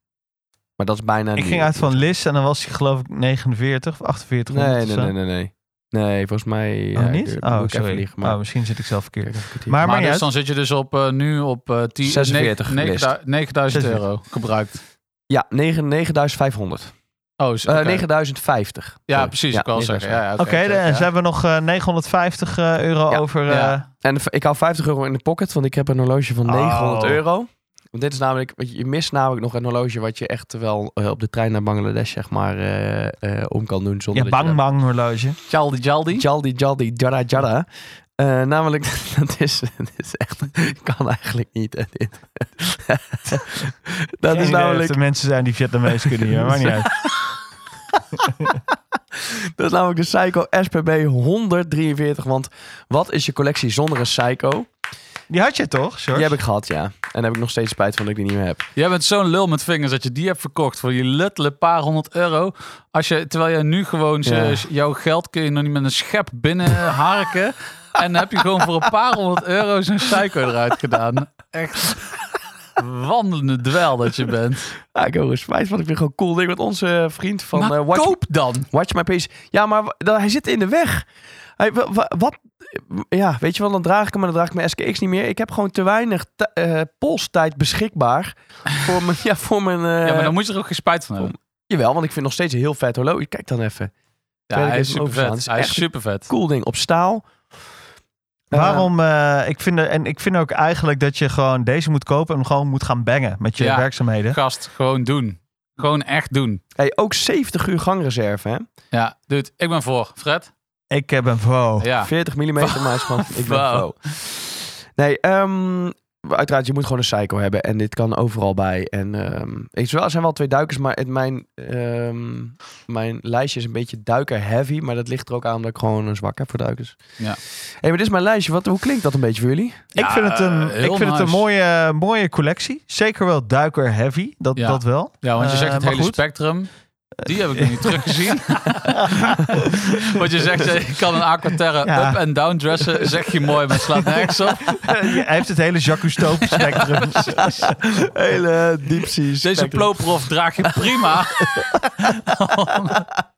[SPEAKER 4] Maar dat is bijna
[SPEAKER 3] Ik
[SPEAKER 4] nieuw.
[SPEAKER 3] ging uit van Lis en dan was hij geloof ik 49 of 48.
[SPEAKER 4] Nee,
[SPEAKER 3] of
[SPEAKER 4] nee,
[SPEAKER 3] zo.
[SPEAKER 4] nee, nee, nee. Nee, volgens mij...
[SPEAKER 3] Oh,
[SPEAKER 4] ja,
[SPEAKER 3] niet?
[SPEAKER 4] duurt- moet
[SPEAKER 3] Oh,
[SPEAKER 4] ik even
[SPEAKER 3] sorry.
[SPEAKER 4] liegen, maar-
[SPEAKER 3] Oh, misschien zit ik zelf verkeerd.
[SPEAKER 4] Kijk even, ik het hier-
[SPEAKER 3] Maar,
[SPEAKER 2] Maar
[SPEAKER 3] maar,
[SPEAKER 2] dus
[SPEAKER 3] niet
[SPEAKER 2] dan zit je dus op, eh, nu op eh 10,
[SPEAKER 4] 46
[SPEAKER 2] negen-
[SPEAKER 4] list.
[SPEAKER 2] negen- 9000
[SPEAKER 3] 46.
[SPEAKER 2] euro gebruikt.
[SPEAKER 4] Ja, negen- 9500.
[SPEAKER 2] Oh, is-
[SPEAKER 4] Eh,
[SPEAKER 2] oké.
[SPEAKER 4] 9050.
[SPEAKER 2] Ja,
[SPEAKER 4] Sorry.
[SPEAKER 2] precies. ik wil zeggen. Ja, ja,
[SPEAKER 3] Oké, dan
[SPEAKER 2] zeker, ja.
[SPEAKER 3] hebben we nog eh, 950 euro
[SPEAKER 4] dus Ja,
[SPEAKER 3] over.
[SPEAKER 2] ja.
[SPEAKER 3] eh,
[SPEAKER 4] En v- ik hou 50 euro in de pocket, want ik heb een horloge van
[SPEAKER 3] Oh.
[SPEAKER 4] 900 euro. Want dit is namelijk, want je mist namelijk nog een horloge wat je echt wel eh, op de trein naar Bangladesh, zeg maar, eh, eh, om kan doen.
[SPEAKER 3] ja,
[SPEAKER 4] Zonder dat je
[SPEAKER 3] bang bang horloge.
[SPEAKER 2] Jaldi, Jaldi.
[SPEAKER 4] Jaldi, Jaldi, Jada, Jada. Eh, namelijk, dat is, dat is echt, kan eigenlijk niet. hè, dit. dat
[SPEAKER 3] Geen
[SPEAKER 4] is
[SPEAKER 3] idee of
[SPEAKER 4] namelijk,
[SPEAKER 3] er mensen zijn die Vietnamees kunnen hier, maar niet uit.
[SPEAKER 4] dat is namelijk de Seiko SPB 143. Want wat is je collectie zonder een Seiko?
[SPEAKER 3] Die had je toch, George?
[SPEAKER 4] Die heb ik gehad, ja. En daar heb ik nog steeds spijt van dat ik die niet meer heb.
[SPEAKER 2] Jij bent zo'n lul met vingers dat je die hebt verkocht voor je luttele paar honderd euro. Als je, terwijl je nu gewoon ze-
[SPEAKER 4] Ja.
[SPEAKER 2] z- jouw geld kun je nog niet met een schep binnen harken. en dan heb je gewoon voor een paar honderd euro zo'n psycho eruit gedaan. Echt wandelende dweil dat je bent.
[SPEAKER 4] Ja, ik heb er spijt van. Ik vind het gewoon cool ding. Want onze vriend van
[SPEAKER 2] maar
[SPEAKER 4] eh, Watch,
[SPEAKER 2] koop dan.
[SPEAKER 4] Watch My Pace. Ja, maar wa- dan- hij zit in de weg. Hij, wa- wa- wat? Ja, weet je wel, dan draag ik hem, maar dan draag ik mijn SKX niet meer. Ik heb gewoon te weinig t- eh, polstijd beschikbaar voor mijn... Ja, voor mijn eh,
[SPEAKER 2] Ja, maar dan moet je er ook geen spijt van hebben.
[SPEAKER 4] Jawel, want ik vind het nog steeds een heel vet horloge. Kijk dan even.
[SPEAKER 2] Ja,
[SPEAKER 4] Weet ik
[SPEAKER 2] hij is super
[SPEAKER 4] even overslaan. Het
[SPEAKER 2] vet.
[SPEAKER 4] is
[SPEAKER 2] Hij is
[SPEAKER 4] echt-
[SPEAKER 2] super vet.
[SPEAKER 4] Cool ding, op staal. Eh,
[SPEAKER 3] Waarom? eh, ik vind er, en ik vind ook eigenlijk dat je gewoon deze moet kopen en hem gewoon moet gaan bangen met je
[SPEAKER 2] Ja.
[SPEAKER 3] werkzaamheden.
[SPEAKER 2] Gast, gewoon doen. Gewoon echt doen.
[SPEAKER 4] hey, ook 70 uur gangreserve, hè?
[SPEAKER 2] Ja, dude, ik ben voor. Fred?
[SPEAKER 3] Ik heb een wow.
[SPEAKER 2] Ja.
[SPEAKER 4] 40 mm maatschap. Ik ben
[SPEAKER 2] Wauw.
[SPEAKER 4] pro. Nee, ehm, uiteraard, je moet gewoon een cycle hebben. En dit kan overal bij. En ehm, ik, er zijn wel twee duikers, maar het, mijn, ehm, mijn lijstje is een beetje duiker-heavy. Maar dat ligt er ook aan dat ik gewoon een zwak heb voor duikers.
[SPEAKER 2] Ja.
[SPEAKER 4] hey, maar dit is mijn lijstje. Wat, hoe klinkt dat een beetje voor jullie?
[SPEAKER 3] Ik vind het een,
[SPEAKER 2] Ja, eh,
[SPEAKER 3] ik
[SPEAKER 2] heel
[SPEAKER 3] vind het een
[SPEAKER 2] nice.
[SPEAKER 3] mooie, mooie collectie. Zeker wel duiker heavy, dat,
[SPEAKER 2] Ja.
[SPEAKER 3] dat wel.
[SPEAKER 2] Ja, want je
[SPEAKER 3] Eh,
[SPEAKER 2] zegt het
[SPEAKER 3] maar
[SPEAKER 2] hele
[SPEAKER 3] goed.
[SPEAKER 2] spectrum. Die heb ik nog niet teruggezien. Want je zegt, eh, ik kan een aquaterra
[SPEAKER 3] Ja.
[SPEAKER 2] up en down dressen. Zeg je mooi, maar het slaat nergens op.
[SPEAKER 3] Hij heeft het hele Jacques Cousteau spectrum.
[SPEAKER 4] Hele deep
[SPEAKER 2] Deze plooprof draag je prima.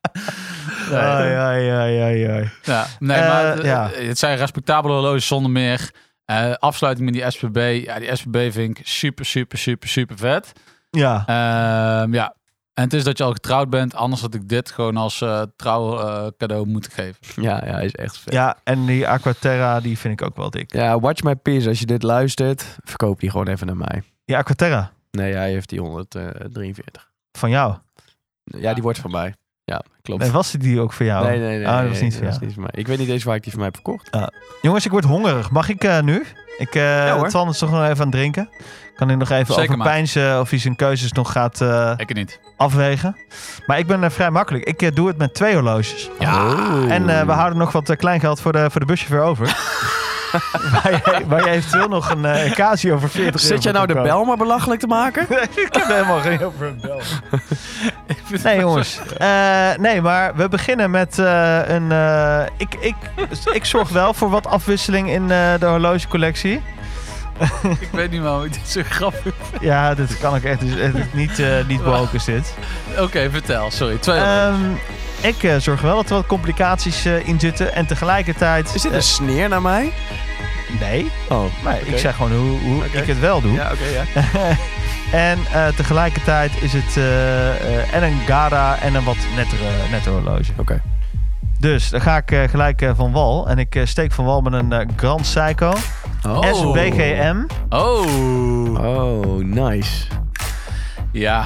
[SPEAKER 3] Ai, ai, ai, ai, ai.
[SPEAKER 2] Ja, nee,
[SPEAKER 3] Eh,
[SPEAKER 2] maar eh,
[SPEAKER 3] ja.
[SPEAKER 2] het zijn respectabele horloges zonder meer. Eh, afsluiting met die SPB. Ja, die SPB vind ik super, super, super, super vet.
[SPEAKER 3] Ja,
[SPEAKER 2] Ehm, ja, en het is dat je al getrouwd bent. Anders had ik dit gewoon als eh trouw eh, cadeau moeten geven.
[SPEAKER 4] Ja, ja, hij is echt vet. Ja.
[SPEAKER 3] ja, en die Aquaterra, die vind ik ook wel dik.
[SPEAKER 4] Watch My Peers, als je dit luistert, verkoop die gewoon even naar mij.
[SPEAKER 3] Die Aquaterra,
[SPEAKER 4] Nee, hij heeft die 143.
[SPEAKER 3] van jou.
[SPEAKER 4] Ja, die wordt van mij. Ja, klopt.
[SPEAKER 3] En was die ook voor jou?
[SPEAKER 4] Nee, nee, nee.
[SPEAKER 3] Ah, dat
[SPEAKER 4] nee,
[SPEAKER 3] was niet
[SPEAKER 4] nee,
[SPEAKER 3] voor
[SPEAKER 4] dat
[SPEAKER 3] jou.
[SPEAKER 4] is mij. Ik weet niet eens waar ik die van mij heb verkocht.
[SPEAKER 3] Jongens, ik word hongerig. Mag ik eh, nu? Ik eh
[SPEAKER 4] Ja, hoor.
[SPEAKER 3] Twan is toch nog even aan het drinken. Kan hij nog even
[SPEAKER 2] Zeker,
[SPEAKER 3] overpeinzen of hij zijn keuzes nog gaat eh,
[SPEAKER 2] Ik het niet.
[SPEAKER 3] afwegen. Maar ik ben eh, vrij makkelijk. Ik eh, doe het met twee horloges.
[SPEAKER 4] Oh.
[SPEAKER 3] En eh, we houden nog wat eh, kleingeld voor de, voor de buschauffeur over. waar, je, waar je eventueel nog een eh, Casio voor 40 euro
[SPEAKER 4] Zit jij nou de
[SPEAKER 3] kan
[SPEAKER 4] bel maar belachelijk te maken?
[SPEAKER 3] kopen. ik heb helemaal geen over een bel. Nee jongens. Eh, nee, maar we beginnen met eh, een... eh, ik, ik, ik zorg wel voor wat afwisseling in eh, de horlogecollectie.
[SPEAKER 2] Ik weet niet, man. Dit is zo grappig.
[SPEAKER 3] Ja, dit kan ik echt dus, echt niet, eh niet behoken dit.
[SPEAKER 2] Oké, vertel. Sorry.
[SPEAKER 4] Oh,
[SPEAKER 2] Twee.
[SPEAKER 3] Ehm, ik eh, zorg wel dat er wat complicaties eh, in zitten. En tegelijkertijd...
[SPEAKER 4] Is dit een sneer naar mij?
[SPEAKER 3] eh, nee,
[SPEAKER 4] Oh.
[SPEAKER 3] maar
[SPEAKER 4] Oké.
[SPEAKER 3] ik zeg gewoon hoe, hoe
[SPEAKER 4] Oké.
[SPEAKER 3] ik het wel doe.
[SPEAKER 4] Ja, oké, ja.
[SPEAKER 3] En eh, tegelijkertijd is het eh, eh, en een Gara en een wat nettere, netter horloge.
[SPEAKER 4] Oké.
[SPEAKER 3] Dus dan ga ik eh, gelijk eh, van wal. En ik eh, steek van wal met een eh, Grand Seiko
[SPEAKER 2] Oh.
[SPEAKER 3] SBGM.
[SPEAKER 2] Oh.
[SPEAKER 4] Oh, nice.
[SPEAKER 2] Ja.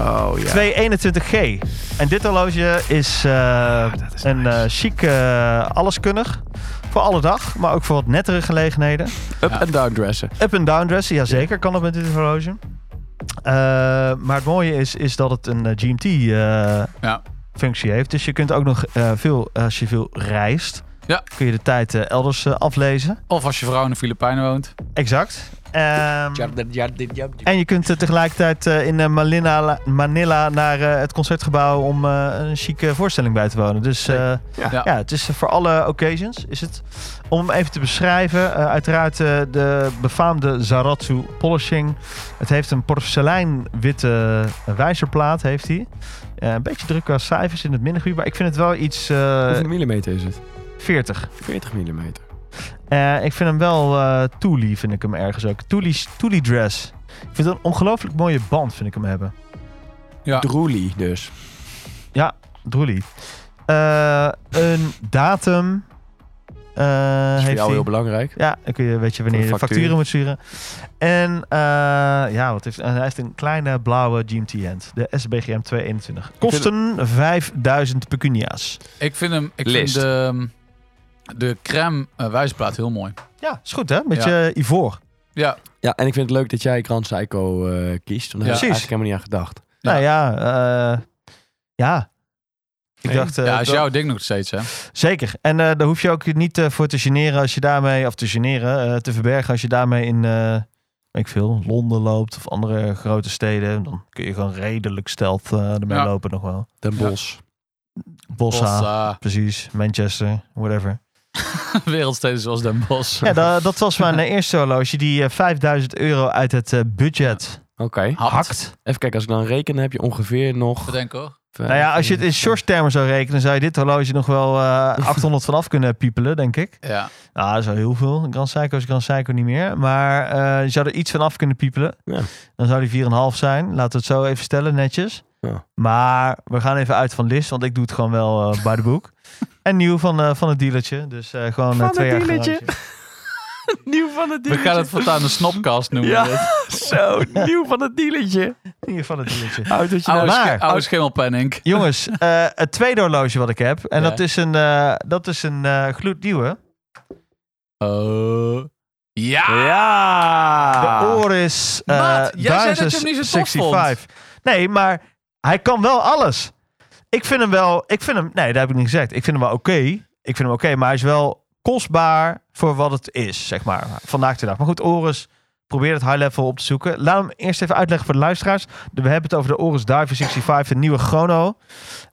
[SPEAKER 4] Oh, ja.
[SPEAKER 3] 221G. En dit horloge is, eh,
[SPEAKER 4] Ah, dat is
[SPEAKER 3] een eh chic eh, alleskunnig. Voor alle dag, maar ook voor wat nettere gelegenheden.
[SPEAKER 4] Up en down dressen.
[SPEAKER 3] Up- en down dressen, jazeker kan dat met dit horloge. Eh, maar het mooie is, is dat het een eh,
[SPEAKER 2] Ja.
[SPEAKER 3] GMT-functie eh, heeft. Dus je kunt ook nog eh, veel, als je veel reist,
[SPEAKER 2] Ja.
[SPEAKER 3] kun je de tijd eh, elders eh, aflezen.
[SPEAKER 2] Of als je vrouw in de Filipijnen woont.
[SPEAKER 3] Exact. Ehm, en je kunt eh, tegelijkertijd eh, in eh, Manila, Manila naar eh, het concertgebouw om eh, een chique voorstelling bij te wonen. Dus eh, ja. het is eh, voor alle occasions. Is het. Om hem even te beschrijven, eh, uiteraard eh, de befaamde Zaratsu Polishing. Het heeft een porseleinwitte wijzerplaat, heeft hij. Eh, een beetje druk qua cijfers in het middengebied, maar ik vind het wel iets eh,
[SPEAKER 4] Hoeveel millimeter is het?
[SPEAKER 3] 40.
[SPEAKER 4] 40 millimeter.
[SPEAKER 3] Eh, ik vind hem wel eh Thule vind ik hem ergens ook. Thule, Thule dress. Ik vind het een ongelooflijk mooie band, vind ik hem hebben.
[SPEAKER 2] Ja.
[SPEAKER 4] Droelie dus.
[SPEAKER 3] Droelie. Eh, een datum. eh,
[SPEAKER 4] Dat is voor
[SPEAKER 3] heeft
[SPEAKER 4] jou
[SPEAKER 3] hij.
[SPEAKER 4] heel belangrijk.
[SPEAKER 3] Ja, dan kun je, weet je wanneer je
[SPEAKER 4] Voor
[SPEAKER 3] de
[SPEAKER 4] de
[SPEAKER 3] facturen moet sturen. En eh, ja, wat heeft, en hij heeft een kleine blauwe GMT-hand. De SBGM 221. Kosten 5000 pecunia's.
[SPEAKER 2] Ik vind hem, ik
[SPEAKER 4] List.
[SPEAKER 2] vind de, ehm, de crème eh, wijsplaat heel mooi.
[SPEAKER 3] Ja, is goed hè? Met je ivoor.
[SPEAKER 2] Ja,
[SPEAKER 4] Ja, en ik vind het leuk dat jij Grand Psycho eh, kiest. Want daar
[SPEAKER 2] Ja.
[SPEAKER 4] heb ik eigenlijk helemaal niet aan gedacht.
[SPEAKER 2] Ja.
[SPEAKER 3] Nou ja, eh, ja. Ik
[SPEAKER 4] Nee.
[SPEAKER 3] dacht, eh,
[SPEAKER 2] ja is
[SPEAKER 3] dat-
[SPEAKER 2] jouw ding nog steeds, hè?
[SPEAKER 3] Zeker. En eh, daar hoef je ook niet eh, voor te generen als je daarmee, of te generen, eh, te verbergen als je daarmee in, eh, weet ik veel, Londen loopt of andere grote steden. Dan kun je gewoon redelijk stealth eh, ermee
[SPEAKER 2] Ja.
[SPEAKER 3] lopen nog wel.
[SPEAKER 4] Den
[SPEAKER 2] Ja.
[SPEAKER 4] Bos.
[SPEAKER 3] Bossa,
[SPEAKER 2] Bossa.
[SPEAKER 3] precies. Manchester, whatever.
[SPEAKER 2] Wereldsteden zoals Den Bosch.
[SPEAKER 3] Ja, da- dat was mijn eh, eerste horloge die eh, 5000 euro uit het eh, budget
[SPEAKER 4] Oké.
[SPEAKER 2] Had.
[SPEAKER 3] hakt.
[SPEAKER 4] Even kijken, als ik dan reken, dan heb je ongeveer nog... eh,
[SPEAKER 2] Bedenk hoor.
[SPEAKER 3] Nou ja, als je het in short termen zou rekenen, zou je dit horloge nog wel eh, 800 vanaf kunnen piepelen, denk ik.
[SPEAKER 2] Ja.
[SPEAKER 3] Nou, dat is wel heel veel. Grand Psycho is Grand Psycho niet meer. Maar eh, je zou er iets van af kunnen piepelen.
[SPEAKER 4] Ja.
[SPEAKER 3] Dan zou die 4,5 zijn. Laten we het zo even stellen, netjes.
[SPEAKER 4] Ja.
[SPEAKER 3] Maar we gaan even uit van list, want ik doe het gewoon wel eh bij de boek. en nieuw van, eh, van het dealertje. Dus eh, gewoon eh,
[SPEAKER 4] Van
[SPEAKER 3] twee
[SPEAKER 4] het
[SPEAKER 3] jaar
[SPEAKER 4] dealertje.
[SPEAKER 3] garantie.
[SPEAKER 4] nieuw van het
[SPEAKER 2] We gaan het voortaan de snopkast noemen.
[SPEAKER 4] Ja.
[SPEAKER 2] dit.
[SPEAKER 4] Zo, nieuw van het dealertje.
[SPEAKER 3] Nieuw van het dealertje.
[SPEAKER 4] Autootje
[SPEAKER 2] Oude,
[SPEAKER 3] Maar-
[SPEAKER 2] sch oude schimmelpenning.
[SPEAKER 3] Jongens, eh, het tweede horloge wat ik heb. En
[SPEAKER 2] Ja.
[SPEAKER 3] dat is een, eh, dat is een eh, gloednieuwe.
[SPEAKER 2] Oh. Ja!
[SPEAKER 4] Ja!
[SPEAKER 2] Ah.
[SPEAKER 3] De Oris eh
[SPEAKER 2] Maat, jij zei dat je hem niet zo tof
[SPEAKER 3] 1065. Nee, maar hij kan wel alles. Ik vind hem wel... Ik vind hem... Nee, dat heb ik niet gezegd. Ik vind hem wel oké. Ik vind hem oké, maar hij is wel kostbaar voor wat het is, zeg maar. Vandaag de dag. Maar goed, Oris... Probeer het high level op te zoeken. Laat hem eerst even uitleggen voor de luisteraars. We hebben het over de Oris Diver 65, een nieuwe chrono.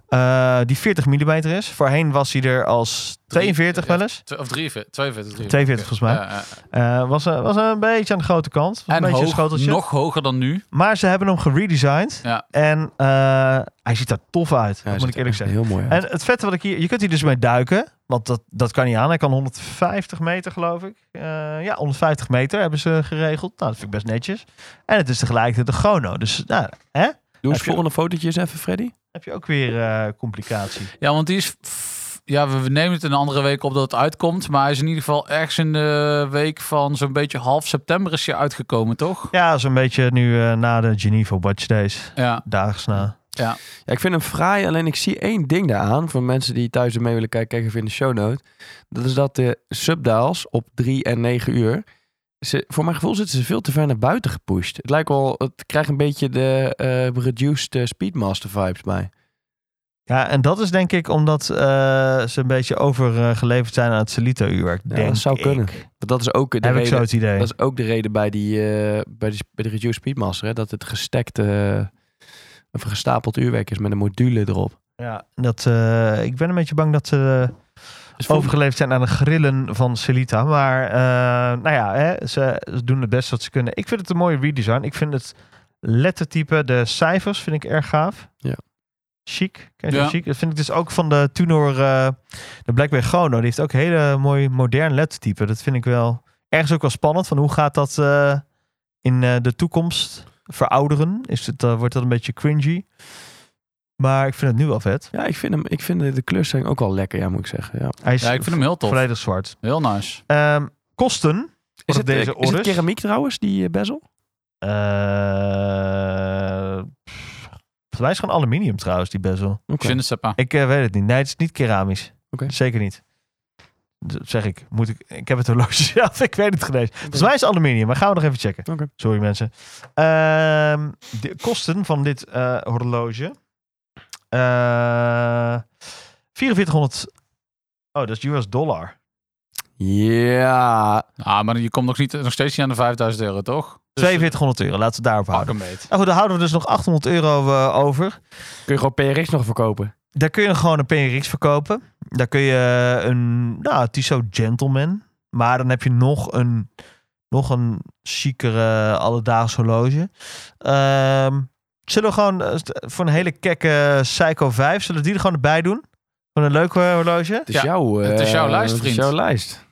[SPEAKER 3] eh, die 40 mm is. Voorheen was hij er als 42 wel eens.
[SPEAKER 2] Tw- Of 43, 42.
[SPEAKER 3] 42 volgens mij.
[SPEAKER 2] Ja, ja.
[SPEAKER 3] Eh, was, eh, was een beetje aan de grote kant. Was
[SPEAKER 2] En
[SPEAKER 3] een beetje een
[SPEAKER 2] hoog,
[SPEAKER 3] schoteltje.
[SPEAKER 2] nog hoger dan nu.
[SPEAKER 3] Maar ze hebben hem geredesigned.
[SPEAKER 2] Ja.
[SPEAKER 3] En eh, hij ziet er tof uit,
[SPEAKER 4] Ja,
[SPEAKER 3] dat moet ik eerlijk zeggen.
[SPEAKER 4] Heel mooi. uit.
[SPEAKER 3] En het vette wat ik hier... Je kunt hier dus mee duiken. Want dat, dat kan niet aan. Hij kan 150 meter, geloof ik. Eh, ja, 150 meter hebben ze geregeld. Nou, dat vind ik best netjes. En het is tegelijkertijd de chrono. Dus nou,
[SPEAKER 4] Doe
[SPEAKER 3] heb
[SPEAKER 4] eens
[SPEAKER 3] je-
[SPEAKER 4] volgende fotootje eens even, Freddy.
[SPEAKER 3] heb je ook weer eh, complicatie.
[SPEAKER 2] Ja, want die is. f- Ja, we nemen het een andere week op dat het uitkomt. Maar hij is in ieder geval ergens in de week van zo'n beetje half september is hij uitgekomen, toch?
[SPEAKER 3] Ja, zo'n beetje nu eh, na de Geneva Watch Days.
[SPEAKER 2] Ja.
[SPEAKER 3] Daags na.
[SPEAKER 4] Ja, ik vind hem fraai, alleen ik zie één ding daaraan. Voor mensen die thuis ermee willen kijken, kijk even in de show note. Dat is dat de subdials op 3 en 9 uur. Ze, voor mijn gevoel zitten ze veel te ver naar buiten gepusht. Het lijkt wel, het krijgt een beetje de eh, reduced eh, Speedmaster vibes bij.
[SPEAKER 3] Ja, en dat is denk ik omdat eh, ze een beetje overgeleverd zijn aan het Solito-uurwerk.
[SPEAKER 4] Ja,
[SPEAKER 3] denk
[SPEAKER 4] dat zou
[SPEAKER 3] ik.
[SPEAKER 4] kunnen. Want Dat is ook de
[SPEAKER 3] Heb ik zo
[SPEAKER 4] reden.
[SPEAKER 3] het idee.
[SPEAKER 4] Dat is ook de reden bij, die, eh, bij, die, bij de Reduced Speedmaster. Hè? Dat het gestekt, eh, of een gestapeld uurwerk is met een module erop.
[SPEAKER 3] Ja, dat, eh, ik ben een beetje bang dat ze
[SPEAKER 4] Dus voor-
[SPEAKER 3] overgeleefd zijn aan de grillen van Celita. Maar eh, nou ja, hè, ze ze doen het best wat ze kunnen. Ik vind het een mooie redesign. Ik vind het lettertype, de cijfers vind ik erg gaaf.
[SPEAKER 4] Ja.
[SPEAKER 3] Chic. Ken je
[SPEAKER 2] Ja.
[SPEAKER 3] dat chic? Dat vind ik dus ook van de Tunor, eh, de Blackberry Chrono. Die heeft ook hele mooi modern lettertype. Dat vind ik wel ergens ook wel spannend. Van hoe gaat dat eh, in eh, de toekomst verouderen? Is het, eh, wordt dat een beetje cringy? Maar ik vind het nu wel vet.
[SPEAKER 4] Ja, ik vind, hem, ik vind de, de kleurs zijn ook wel lekker, ja, moet ik zeggen. Ja.
[SPEAKER 3] Hij is
[SPEAKER 2] Ja, ik vind hem heel tof.
[SPEAKER 3] volledig zwart.
[SPEAKER 2] Heel nice.
[SPEAKER 3] Ehm, kosten.
[SPEAKER 4] Is het,
[SPEAKER 3] deze
[SPEAKER 4] eh, is het
[SPEAKER 3] orders?
[SPEAKER 4] keramiek trouwens, die eh, bezel?
[SPEAKER 3] Eh, pff, Volgens mij is het gewoon aluminium trouwens, die bezel.
[SPEAKER 4] Oké.
[SPEAKER 2] Je ne sais pas.
[SPEAKER 3] Ik eh, weet het niet. Nee, het is niet keramisch.
[SPEAKER 4] Oké.
[SPEAKER 3] Zeker niet. Dat zeg ik. Moet ik. Ik heb het horloge zelf. Ik weet het genees. Volgens mij is het aluminium. Maar gaan we nog even checken.
[SPEAKER 4] Oké.
[SPEAKER 3] Sorry mensen. Ehm, de kosten van dit eh, horloge.
[SPEAKER 4] Dus,
[SPEAKER 3] Eh 4400. Oh, dat is US dollar.
[SPEAKER 4] Ja.
[SPEAKER 2] Ah, maar je komt nog, niet, nog steeds niet aan de 5000 euro, toch?
[SPEAKER 4] eh,
[SPEAKER 3] 4200 euro, laten we het daarop
[SPEAKER 2] Pak
[SPEAKER 3] houden.
[SPEAKER 2] hem beet.
[SPEAKER 3] Nou goed, dan houden we dus nog 800 euro eh, over.
[SPEAKER 4] Kun je gewoon PRX nog verkopen?
[SPEAKER 3] Daar kun je gewoon een PRX verkopen. Daar kun je een nou, Tissot Gentleman. Maar dan heb je nog een, nog een chicere alledaagse horloge. Ehm, zullen we gewoon eh, st- voor een hele kekke Psycho 5, zullen we die er gewoon bij doen? Voor een leuke horloge?
[SPEAKER 4] Het is,
[SPEAKER 2] Ja,
[SPEAKER 4] jouw, eh,
[SPEAKER 2] het is jouw lijst,
[SPEAKER 4] Het
[SPEAKER 2] vriend.
[SPEAKER 4] is jouw lijst.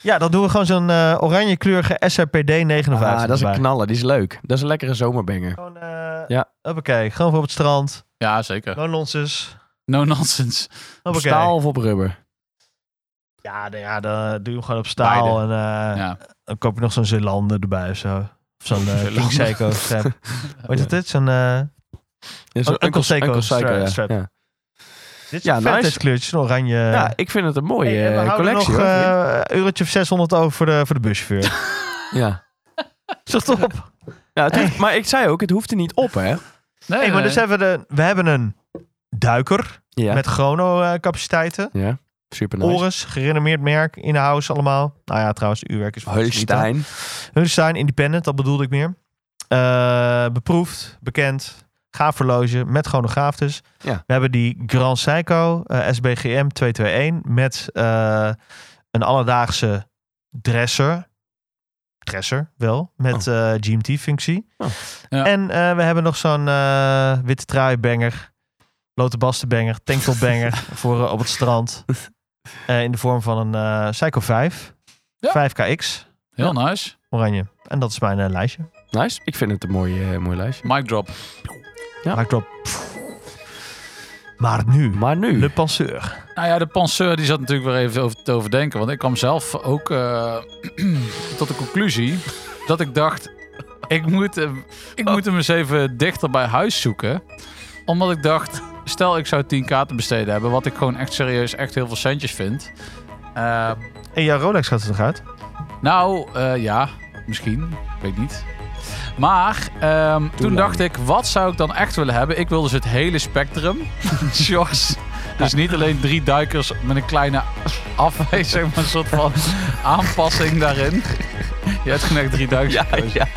[SPEAKER 3] Ja, dan doen we gewoon zo'n eh oranje kleurige SRPD 59
[SPEAKER 4] Ah, dat is een
[SPEAKER 3] erbij.
[SPEAKER 4] knaller. Die is leuk. Dat is een lekkere zomerbanger.
[SPEAKER 3] Gewoon, eh,
[SPEAKER 4] Ja.
[SPEAKER 3] Hoppakee, gewoon voor op het strand.
[SPEAKER 2] Ja, zeker.
[SPEAKER 3] No nonsense.
[SPEAKER 2] No nonsense.
[SPEAKER 4] Op
[SPEAKER 3] Hoppakee.
[SPEAKER 4] staal of op rubber?
[SPEAKER 3] Ja, dan, ja, dan doe je hem gewoon op staal.
[SPEAKER 2] Beide.
[SPEAKER 3] En, eh,
[SPEAKER 2] Ja.
[SPEAKER 3] Dan koop je nog zo'n Zeelander erbij of zo. Of zo'n eh,
[SPEAKER 2] Zeelander.
[SPEAKER 3] King Seiko strap. Weet je dat? Zo'n, eh,
[SPEAKER 4] Ja,
[SPEAKER 3] Uncle Seiko
[SPEAKER 4] Seiko, ja.
[SPEAKER 3] strap.
[SPEAKER 4] Ja.
[SPEAKER 3] dit is
[SPEAKER 4] Ja,
[SPEAKER 3] een
[SPEAKER 4] nice.
[SPEAKER 3] vintage kleurtje, zo'n oranje. eh,
[SPEAKER 4] Ja, ik vind het een mooie
[SPEAKER 3] Hey, en we
[SPEAKER 4] eh,
[SPEAKER 3] houden
[SPEAKER 4] collectie.
[SPEAKER 3] nog
[SPEAKER 4] hoor.
[SPEAKER 3] eh, een eurotje of 600 over voor de, voor de buschauffeur.
[SPEAKER 4] ja.
[SPEAKER 3] Zeg toch op.
[SPEAKER 4] Ja, het hoeft- maar ik zei ook, het hoeft er niet op, hè?
[SPEAKER 2] Nee,
[SPEAKER 3] Hey, maar dus hebben we, de, we hebben een duiker
[SPEAKER 4] Ja.
[SPEAKER 3] met chrono-capaciteiten.
[SPEAKER 4] ja. Super nice.
[SPEAKER 3] Oris, gerenommeerd merk, in-house allemaal. Nou ja, trouwens, de uurwerk is voor
[SPEAKER 4] Holstein.
[SPEAKER 3] Hulstein, independent, dat bedoelde ik meer. Eh, beproefd, bekend, gaaf horloge met chronograaf dus.
[SPEAKER 4] Ja.
[SPEAKER 3] We hebben die Grand Seiko eh, SBGM 221 met eh, een alledaagse dresser. Dresser, wel, met eh, GMT-functie.
[SPEAKER 4] Oh.
[SPEAKER 2] Ja.
[SPEAKER 3] En eh, we hebben nog zo'n eh, witte trui-banger, lote basten-banger, tanktop-banger voor eh, op het strand. Eh, in de vorm van een eh Seiko 5,
[SPEAKER 2] Ja.
[SPEAKER 3] 5KX.
[SPEAKER 2] Heel nice.
[SPEAKER 3] Oranje. En dat is mijn eh, lijstje.
[SPEAKER 4] Nice. Ik vind het een mooi, eh, mooi lijstje.
[SPEAKER 2] Mic drop.
[SPEAKER 4] Ja.
[SPEAKER 3] Maar ik klop. Maar nu,
[SPEAKER 4] Maar nu.
[SPEAKER 3] Le Penseur.
[SPEAKER 2] Nou ja, de penseur die zat natuurlijk weer even over te overdenken. Want ik kwam zelf ook eh, tot de conclusie dat ik dacht... Ik moet, hem- ik moet hem eens even dichter bij huis zoeken. Omdat ik dacht, stel ik zou 10 kaarten besteden hebben... wat ik gewoon echt serieus echt heel veel centjes vind. Eh,
[SPEAKER 3] En jouw Rolex gaat er nog uit?
[SPEAKER 2] nou, eh, ja, misschien. Ik weet niet. Maar ehm, toen
[SPEAKER 4] lang.
[SPEAKER 2] dacht ik, wat zou ik dan echt willen hebben? Ik wil dus het hele spectrum. Sjors. Dus niet alleen drie duikers met een kleine afwijzing, maar een soort van aanpassing daarin. Je hebt gelijk drie duikers. gekozen.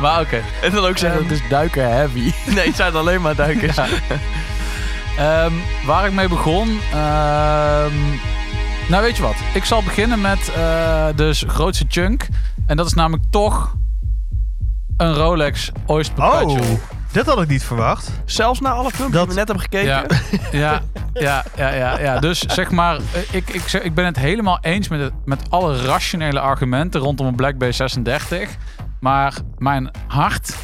[SPEAKER 2] Maar oké.
[SPEAKER 4] Ah, En dan ook zeggen,
[SPEAKER 2] Ehm.
[SPEAKER 4] het is duiken heavy. Nee, het zijn alleen maar duikers.
[SPEAKER 2] Ehm, waar ik mee begon. ehm, nou, weet je wat? Ik zal beginnen met eh dus grootste chunk. En dat is namelijk toch een Rolex Oyster Perpetual.
[SPEAKER 3] Oh, dat had ik niet verwacht.
[SPEAKER 4] Zelfs na alle filmpjes
[SPEAKER 3] Dat-
[SPEAKER 4] die we net hebben gekeken.
[SPEAKER 2] Ja, ja, ja, ja, ja, ja. Dus zeg maar, eh, ik, ik, zeg- ik ben het helemaal eens met, het, met alle rationele argumenten rondom een Black B36. Maar mijn hart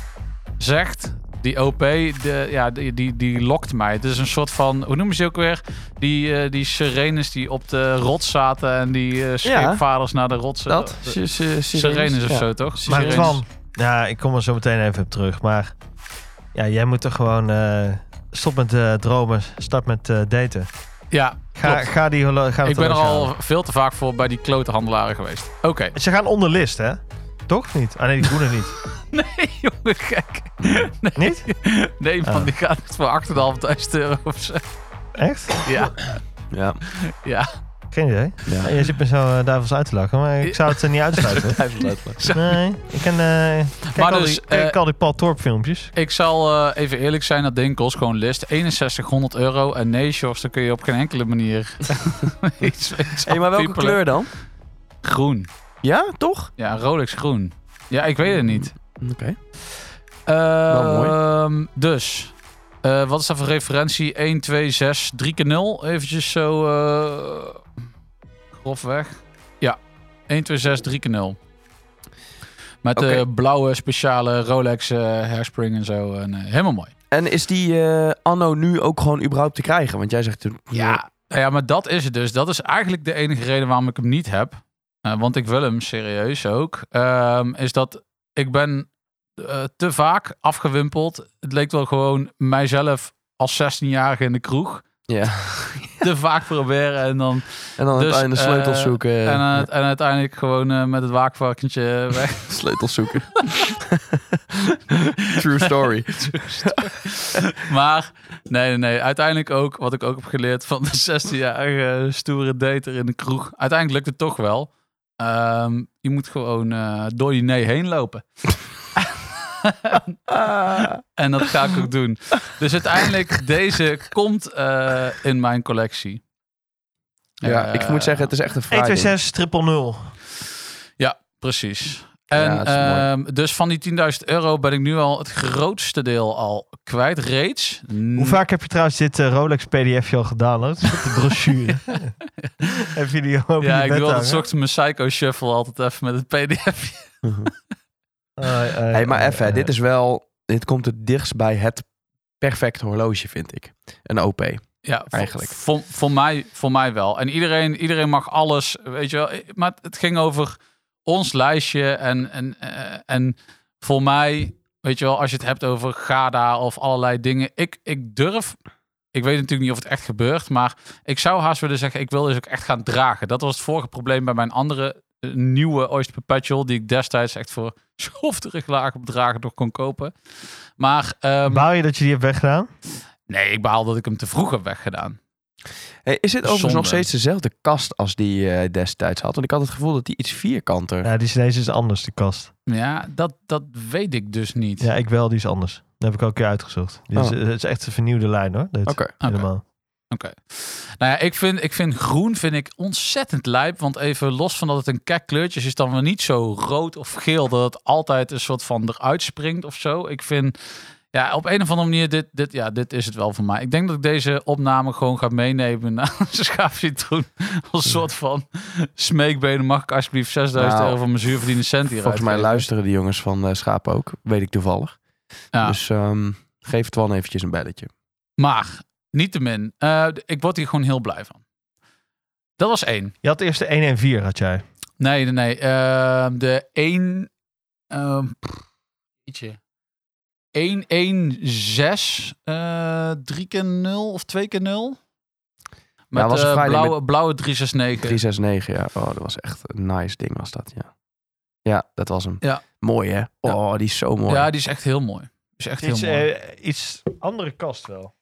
[SPEAKER 2] zegt, die OP, de, ja, die, die, die lokt mij. Het is een soort van, hoe noemen ze die ook weer? Die, eh, die sirenes die op de rots zaten en die eh, scheepvaarders naar de rotsen.
[SPEAKER 4] Dat?
[SPEAKER 2] Eh,
[SPEAKER 4] Ze- ze- ze-
[SPEAKER 2] Sirenes of
[SPEAKER 4] ja.
[SPEAKER 2] zo, toch?
[SPEAKER 3] Maar
[SPEAKER 2] Sirenes.
[SPEAKER 3] Twan, ja, ik kom er zo meteen even op terug. Maar ja, jij moet er gewoon... eh, stop met eh, dromen, start met eh, daten.
[SPEAKER 2] Ja,
[SPEAKER 3] Ga,
[SPEAKER 2] klopt.
[SPEAKER 3] ga die holo- ga dat
[SPEAKER 2] ik ben er
[SPEAKER 3] horloge
[SPEAKER 2] al
[SPEAKER 3] halen.
[SPEAKER 2] veel te vaak voor bij die klote handelaren geweest. Oké.
[SPEAKER 3] Ze gaan onder list, hè? Toch of niet? Ah nee, die groene niet.
[SPEAKER 2] Nee, jongen, gek.
[SPEAKER 3] Niet?
[SPEAKER 2] Nee, man,
[SPEAKER 3] Ah.
[SPEAKER 2] die gaat echt voor 8.500 euro of zo.
[SPEAKER 3] Echt?
[SPEAKER 2] Ja,
[SPEAKER 4] Ja.
[SPEAKER 2] ja.
[SPEAKER 3] Geen idee.
[SPEAKER 4] Ja.
[SPEAKER 3] Je zit me zo eh, duivels uit te lachen, maar ik zou het er niet uitsluiten. Nee, ik ken, eh, kijk,
[SPEAKER 2] Maar
[SPEAKER 3] al
[SPEAKER 2] dus,
[SPEAKER 3] die, kijk
[SPEAKER 2] eh,
[SPEAKER 3] al die Paul Torp filmpjes.
[SPEAKER 2] Ik zal eh, even eerlijk zijn, dat ding kost gewoon list 6100 euro. En nee, Sjors, daar kun je op geen enkele manier iets, iets
[SPEAKER 4] Hey, maar welke
[SPEAKER 2] aan piepelen.
[SPEAKER 4] kleur dan?
[SPEAKER 2] Groen.
[SPEAKER 4] Ja, toch?
[SPEAKER 2] Ja, Rolex groen. Ja, ik weet het niet.
[SPEAKER 4] Mm, Oké. mooi.
[SPEAKER 2] mooi. Dus, eh, wat is dat voor referentie? 1, 2, 6, 3 keer 0. Eventjes zo eh grofweg. Ja, 1, 2, 6, 3 keer 0. Met de
[SPEAKER 4] Oké.
[SPEAKER 2] blauwe speciale Rolex eh hairspring en zo. En, eh, helemaal mooi.
[SPEAKER 4] En is die eh, anno nu ook gewoon überhaupt te krijgen? Want jij zegt...
[SPEAKER 2] Ja. Nou ja, maar dat is het dus. Dat is eigenlijk de enige reden waarom ik hem niet heb. Eh, want ik wil hem serieus ook. Ehm, is dat ik ben eh, te vaak afgewimpeld. Het leek wel gewoon mijzelf als 16-jarige in de kroeg.
[SPEAKER 4] Ja.
[SPEAKER 2] te vaak proberen en dan...
[SPEAKER 4] En dan
[SPEAKER 2] Dus,
[SPEAKER 4] uiteindelijk sleutels
[SPEAKER 2] eh,
[SPEAKER 4] zoeken.
[SPEAKER 2] En, aan- en uiteindelijk gewoon eh, met het waakvarkentje weg.
[SPEAKER 4] Sleutels zoeken. True story.
[SPEAKER 2] maar nee, nee, nee. Uiteindelijk ook, wat ik ook heb geleerd van de 16-jarige stoere dater in de kroeg. Uiteindelijk lukt het toch wel. Ehm, je moet gewoon eh, door je nee heen lopen. en dat ga ik ook doen. Dus uiteindelijk, deze komt eh, in mijn collectie.
[SPEAKER 4] Ja,
[SPEAKER 2] Eh,
[SPEAKER 4] ik moet zeggen, het is echt een vraag.
[SPEAKER 3] 126 triple 0.
[SPEAKER 2] Ja, precies.
[SPEAKER 4] Ja,
[SPEAKER 2] En
[SPEAKER 4] dat is mooi.
[SPEAKER 2] ehm, dus van die 10.000 euro ben ik nu al het grootste deel al kwijt. Reeds.
[SPEAKER 3] Hoe vaak heb je trouwens dit eh, Rolex PDF al gedownload? De brochure. heb je die open
[SPEAKER 2] Ja,
[SPEAKER 3] je
[SPEAKER 2] ik
[SPEAKER 3] bed
[SPEAKER 2] doe altijd
[SPEAKER 3] hangen?
[SPEAKER 2] zocht mijn Psycho Shuffle altijd even met het PDF.
[SPEAKER 3] Ai,
[SPEAKER 2] Eh,
[SPEAKER 3] ai,
[SPEAKER 4] Hey, maar
[SPEAKER 3] ai,
[SPEAKER 4] even,
[SPEAKER 3] ai.
[SPEAKER 4] dit is wel... Dit komt het dichtst bij het perfecte horloge, vind ik. Een OP.
[SPEAKER 2] Ja, voor-
[SPEAKER 4] Eigenlijk.
[SPEAKER 2] Voor, voor, mij, voor mij wel. En iedereen, iedereen mag alles, weet je wel. Maar het ging over ons lijstje en, en, eh, en voor mij, weet je wel, als je het hebt over Gada of allerlei dingen. Ik, ik durf, ik weet natuurlijk niet of het echt gebeurt, maar ik zou haast willen zeggen, ik wil dus ook echt gaan dragen. Dat was het vorige probleem bij mijn andere eh, nieuwe Oyster Perpetual, die ik destijds echt voor schofterig lage bedragen nog kon kopen. Maar ehm,
[SPEAKER 3] Bouw je dat je die hebt weggedaan?
[SPEAKER 2] nee, ik behaal dat ik hem te vroeg heb weggedaan.
[SPEAKER 4] Hey, is dit overigens
[SPEAKER 2] Zonde.
[SPEAKER 4] nog steeds dezelfde kast als die eh, destijds had? Want ik had het gevoel dat die iets vierkanter...
[SPEAKER 3] Ja, die is ineens iets anders, de kast.
[SPEAKER 2] Ja, dat, dat weet ik dus niet.
[SPEAKER 3] Ja, ik wel, die is anders. Dat heb ik ook een keer uitgezocht. Dit is,
[SPEAKER 4] Oh.
[SPEAKER 3] het is echt een vernieuwde lijn hoor. Dit.
[SPEAKER 4] Oké.
[SPEAKER 2] Oké.
[SPEAKER 3] Helemaal.
[SPEAKER 2] Oké. Nou ja, ik vind, ik vind groen vind ik ontzettend lijp. Want even los van dat het een kek kleurtje is, is dan weer niet zo rood of geel. Dat het altijd een soort van eruit springt of zo. Ik vind, ja, op een of andere manier, dit, dit, ja, dit is het wel voor mij. Ik denk dat ik deze opname gewoon ga meenemen naar onze schaafcitroen. Als soort van smeekbenen mag ik alsjeblieft 6000
[SPEAKER 4] Nou,
[SPEAKER 2] euro van mijn zuurverdiende cent hieruit.
[SPEAKER 4] Volgens mij
[SPEAKER 2] geven?
[SPEAKER 4] luisteren die jongens van eh Schaap ook. Weet ik toevallig.
[SPEAKER 2] Ja.
[SPEAKER 4] Dus ehm, geef Twan eventjes een belletje.
[SPEAKER 2] Maar, niettemin, eh ik word hier gewoon heel blij van. Dat was één.
[SPEAKER 3] Je had eerst de 1 en 4, had jij.
[SPEAKER 2] Nee, nee, nee. Ehm, de 1... ehm ietsje. 1, 1, 6, eh 3 keer 0 of 2 keer 0. Met
[SPEAKER 4] was een
[SPEAKER 2] eh,
[SPEAKER 4] Friday
[SPEAKER 2] blauwe, blauwe 369.
[SPEAKER 4] 369, ja. Oh, dat was echt een nice ding was dat, ja. Ja, dat was hem.
[SPEAKER 2] Ja.
[SPEAKER 4] Mooi, hè? Oh, die is zo mooi.
[SPEAKER 2] Ja,
[SPEAKER 4] Ja,
[SPEAKER 2] die is echt heel mooi. Is echt heel
[SPEAKER 3] Iets,
[SPEAKER 2] mooi.
[SPEAKER 3] eh, iets andere kast wel.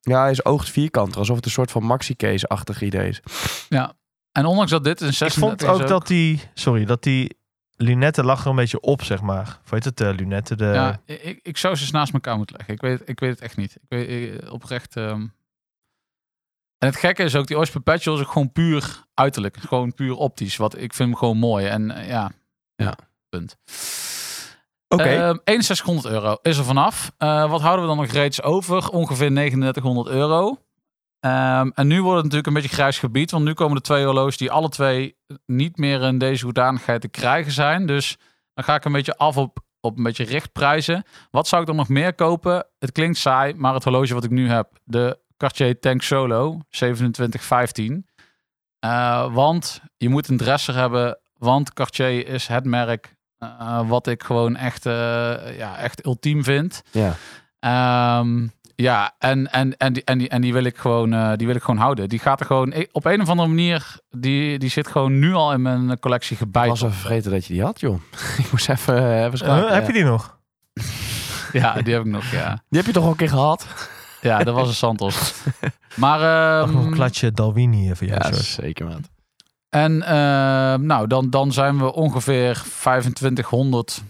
[SPEAKER 4] hij is oogt vierkanter. Alsof het een soort van maxi-case-achtig idee is.
[SPEAKER 2] en ondanks dat dit een 36
[SPEAKER 3] Ik vond ook dat die, sorry, dat die lunetten lag er een beetje op, zeg maar. Of Hoe heet het, eh lunetten? De,
[SPEAKER 2] Ja, ik, ik zou ze eens naast elkaar moeten leggen. Ik weet, het- ik weet het echt niet. Ik weet eh, oprecht. ehm. En het gekke is ook, die Oyster Perpetual is ook gewoon puur uiterlijk. Gewoon puur optisch. Wat, ik vind hem gewoon mooi. En eh, ja,
[SPEAKER 4] Ja.
[SPEAKER 2] ja, punt.
[SPEAKER 4] Oké.
[SPEAKER 2] Ehm, 6100 euro is er vanaf. Eh, wat houden we dan nog reeds over? Ongeveer 3900 euro. Ehm, en nu wordt het natuurlijk een beetje grijs gebied. Want nu komen de twee horloges die alle twee niet meer in deze hoedanigheid te krijgen zijn. Dus dan ga ik een beetje af op, op een beetje richtprijzen. Wat zou ik dan nog meer kopen? Het klinkt saai, maar het horloge wat ik nu heb. De Cartier Tank Solo 2715. Eh, want je moet een dresser hebben. Want Cartier is het merk eh, wat ik gewoon echt, eh, ja, echt ultiem vind.
[SPEAKER 4] Ja.
[SPEAKER 2] Ehm, ja, en, en, en, die, en, die, en die, wil ik gewoon, eh, die wil ik gewoon houden. Die gaat er gewoon ik- op een of andere manier. Die, die zit gewoon nu al in mijn collectie
[SPEAKER 4] Ik
[SPEAKER 2] gebijt.
[SPEAKER 4] was even vergeten dat je die had, joh. ik moest even, eh, even
[SPEAKER 3] Eh,
[SPEAKER 4] schakelen.
[SPEAKER 3] Heb je die nog?
[SPEAKER 2] Ja, die heb ik nog. Ja,
[SPEAKER 4] Die heb je toch al een keer gehad?
[SPEAKER 2] ja dat was een Santos. Maar.
[SPEAKER 3] Ach,
[SPEAKER 2] ehm,
[SPEAKER 3] nog een klatje Dalwini even. Ja, sorry.
[SPEAKER 4] zeker, maat.
[SPEAKER 2] En eh, nou, dan, dan zijn we ongeveer 2500,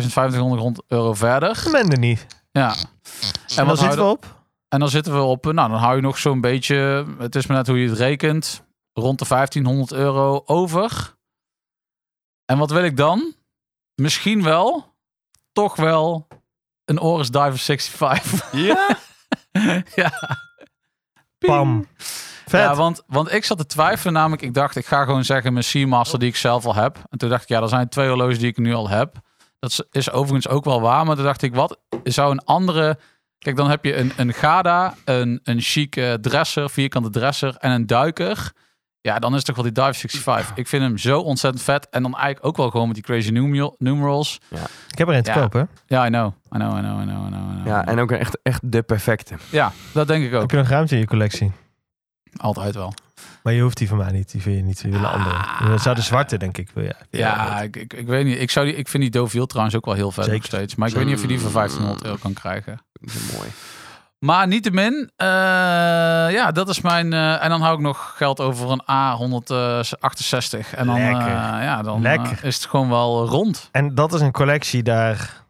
[SPEAKER 2] 2500 euro verder.
[SPEAKER 3] Ik ben er niet.
[SPEAKER 2] Ja. wat
[SPEAKER 3] En waar zitten we op?
[SPEAKER 2] En dan zitten we op, eh, nou, dan hou je nog zo'n beetje, het is maar net hoe je het rekent, rond de 1500 euro over. En wat wil ik dan? Misschien wel, toch wel, een Oris Diver 65.
[SPEAKER 4] Ja?
[SPEAKER 2] ja.
[SPEAKER 3] Pam. Vet.
[SPEAKER 2] Ja, want, want ik zat te twijfelen, namelijk ik dacht, ik ga gewoon zeggen mijn Seamaster die ik zelf al heb. En toen dacht ik, ja, er zijn twee horloges die ik nu al heb. Dat is- is overigens ook wel waar, maar toen dacht ik, wat zou een andere... Kijk, dan heb je een, een Gada, een, een chic eh, dresser, vierkante dresser en een duiker. Ja, dan is toch wel die Dive 65. Ik vind hem zo ontzettend vet. En dan eigenlijk ook wel gewoon met die crazy numeral- numerals.
[SPEAKER 3] Ik heb er een te
[SPEAKER 2] Ja.
[SPEAKER 3] kopen.
[SPEAKER 2] Ja, I know. I know, I know, I know, I know, I know.
[SPEAKER 4] Ja, en ook echt, echt de perfecte.
[SPEAKER 2] ja, dat denk ik ook.
[SPEAKER 3] Heb je nog ruimte in je collectie?
[SPEAKER 2] Altijd wel.
[SPEAKER 3] Maar je hoeft die van mij niet. Die vind je niet. Je wil een andere. Je zou de zwarte, denk ik, wil jij.
[SPEAKER 2] Ah. Ja, ik, ik, ik weet niet. Ik, zou die, ik vind die Deauville trouwens ook wel heel vet nog
[SPEAKER 3] Zeker.
[SPEAKER 2] steeds. Maar ik weet niet of je die voor 1500 euro kan krijgen.
[SPEAKER 4] Mooi.
[SPEAKER 2] Maar niettemin, eh ja, dat is mijn... eh, en dan hou ik nog geld over een A168. En dan, eh,
[SPEAKER 3] Lekker.
[SPEAKER 2] ja, dan eh,
[SPEAKER 3] Lekker.
[SPEAKER 2] is het gewoon wel rond.
[SPEAKER 3] En dat is een collectie daar.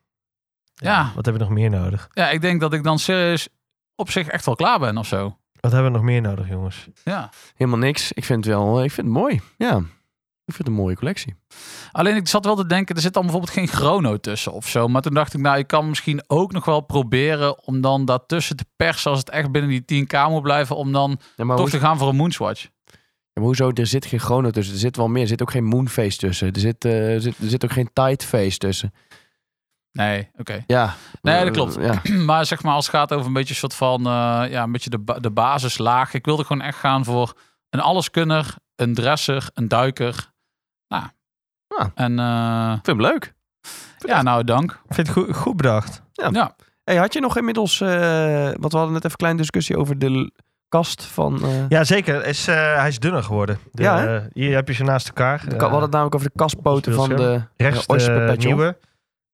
[SPEAKER 2] Ja.
[SPEAKER 3] Wat hebben we nog meer nodig?
[SPEAKER 2] Ja, ik denk dat ik dan serieus op zich echt wel klaar ben of zo.
[SPEAKER 3] Wat hebben we nog meer nodig, jongens?
[SPEAKER 2] Ja.
[SPEAKER 4] Helemaal niks. Ik vind het wel, eh, ik vind het mooi. Ja. Ik vind het een mooie collectie.
[SPEAKER 2] Alleen ik zat wel te denken, er zit dan bijvoorbeeld geen chrono tussen of zo. Maar toen dacht ik, nou, je kan misschien ook nog wel proberen om dan daartussen te persen als het echt binnen die 10k moet blijven, om dan
[SPEAKER 4] Ja, maar,
[SPEAKER 2] toch
[SPEAKER 4] hoezo,
[SPEAKER 2] te gaan voor een Moonswatch.
[SPEAKER 4] maar hoezo? Er zit geen chrono tussen. Er zit wel meer. Er zit ook geen moonface tussen. Er zit, eh, er zit, er zit ook geen tideface tussen.
[SPEAKER 2] Nee, oké.
[SPEAKER 4] Ja.
[SPEAKER 2] Nee, dat klopt.
[SPEAKER 4] Ja.
[SPEAKER 2] Maar zeg maar, als het gaat over een beetje een soort van, eh, ja, een beetje de, ba- de basislaag. Ik wilde gewoon echt gaan voor een alleskunner, een dresser, een duiker. Nou,
[SPEAKER 4] Ja.
[SPEAKER 2] en eh,
[SPEAKER 4] Ik vind hem leuk.
[SPEAKER 2] ja, nou, dank.
[SPEAKER 3] Ik vind het goed, goed bedacht.
[SPEAKER 2] Ja,
[SPEAKER 4] Hey, had je nog inmiddels, eh want we hadden net even een kleine discussie over de l- kast van... eh,
[SPEAKER 3] Ja, zeker. Is, eh, hij is dunner geworden. De,
[SPEAKER 4] Ja, hè?
[SPEAKER 3] eh, hier heb je ze naast elkaar.
[SPEAKER 4] de ka-
[SPEAKER 3] Eh,
[SPEAKER 4] we hadden het namelijk over de kastpoten van de
[SPEAKER 3] rechts
[SPEAKER 4] de Oyster
[SPEAKER 3] de
[SPEAKER 4] Perpetual.
[SPEAKER 3] nieuwe.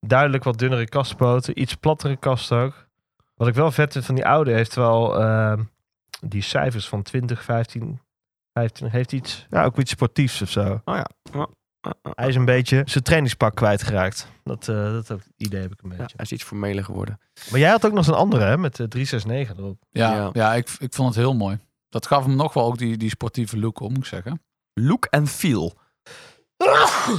[SPEAKER 3] Duidelijk wat dunnere kastpoten. Iets plattere kast ook. Wat ik wel vet vind van die oude, heeft wel ehm, die cijfers van 20, 15, 15. Heeft iets, ja, ook iets sportiefs of zo.
[SPEAKER 4] Oh ja. Ja.
[SPEAKER 3] Hij is een beetje zijn trainingspak kwijtgeraakt. Dat, eh, dat heb- idee heb ik een beetje.
[SPEAKER 4] Ja, hij is iets formeler geworden.
[SPEAKER 3] Maar jij had ook nog zo'n andere, hè? Met eh, 369 erop.
[SPEAKER 2] ja, ja.
[SPEAKER 4] Ja.
[SPEAKER 2] ik, ik vond het heel mooi. Dat gaf hem nog wel ook die, die sportieve look om, moet ik zeggen.
[SPEAKER 4] Look and feel.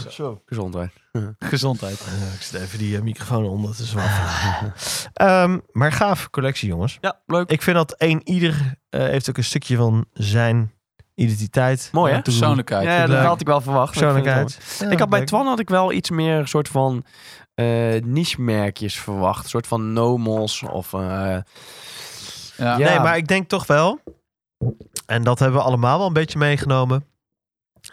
[SPEAKER 4] Zo. Gezondheid.
[SPEAKER 2] Gezondheid.
[SPEAKER 3] Eh, ik zet even die microfoon onder te zwaffen. Ehm maar gaaf collectie, jongens.
[SPEAKER 4] Ah. Ja, leuk.
[SPEAKER 3] Ik vind dat één ieder eh, heeft ook een stukje van zijn identiteit.
[SPEAKER 4] Mooi, hè?
[SPEAKER 3] aan toe.
[SPEAKER 2] Persoonlijkheid.
[SPEAKER 4] ja, dat
[SPEAKER 3] leuk.
[SPEAKER 4] had ik wel verwacht. maar ik vind het wel
[SPEAKER 3] Persoonlijkheid. Ja,
[SPEAKER 4] Ik had bij
[SPEAKER 3] leuk.
[SPEAKER 4] Twan had ik wel iets meer soort van eh niche-merkjes verwacht. Een soort van nomos of... eh,
[SPEAKER 2] Ja.
[SPEAKER 4] Ja.
[SPEAKER 3] Nee, maar ik denk toch wel. En dat hebben we allemaal wel een beetje meegenomen.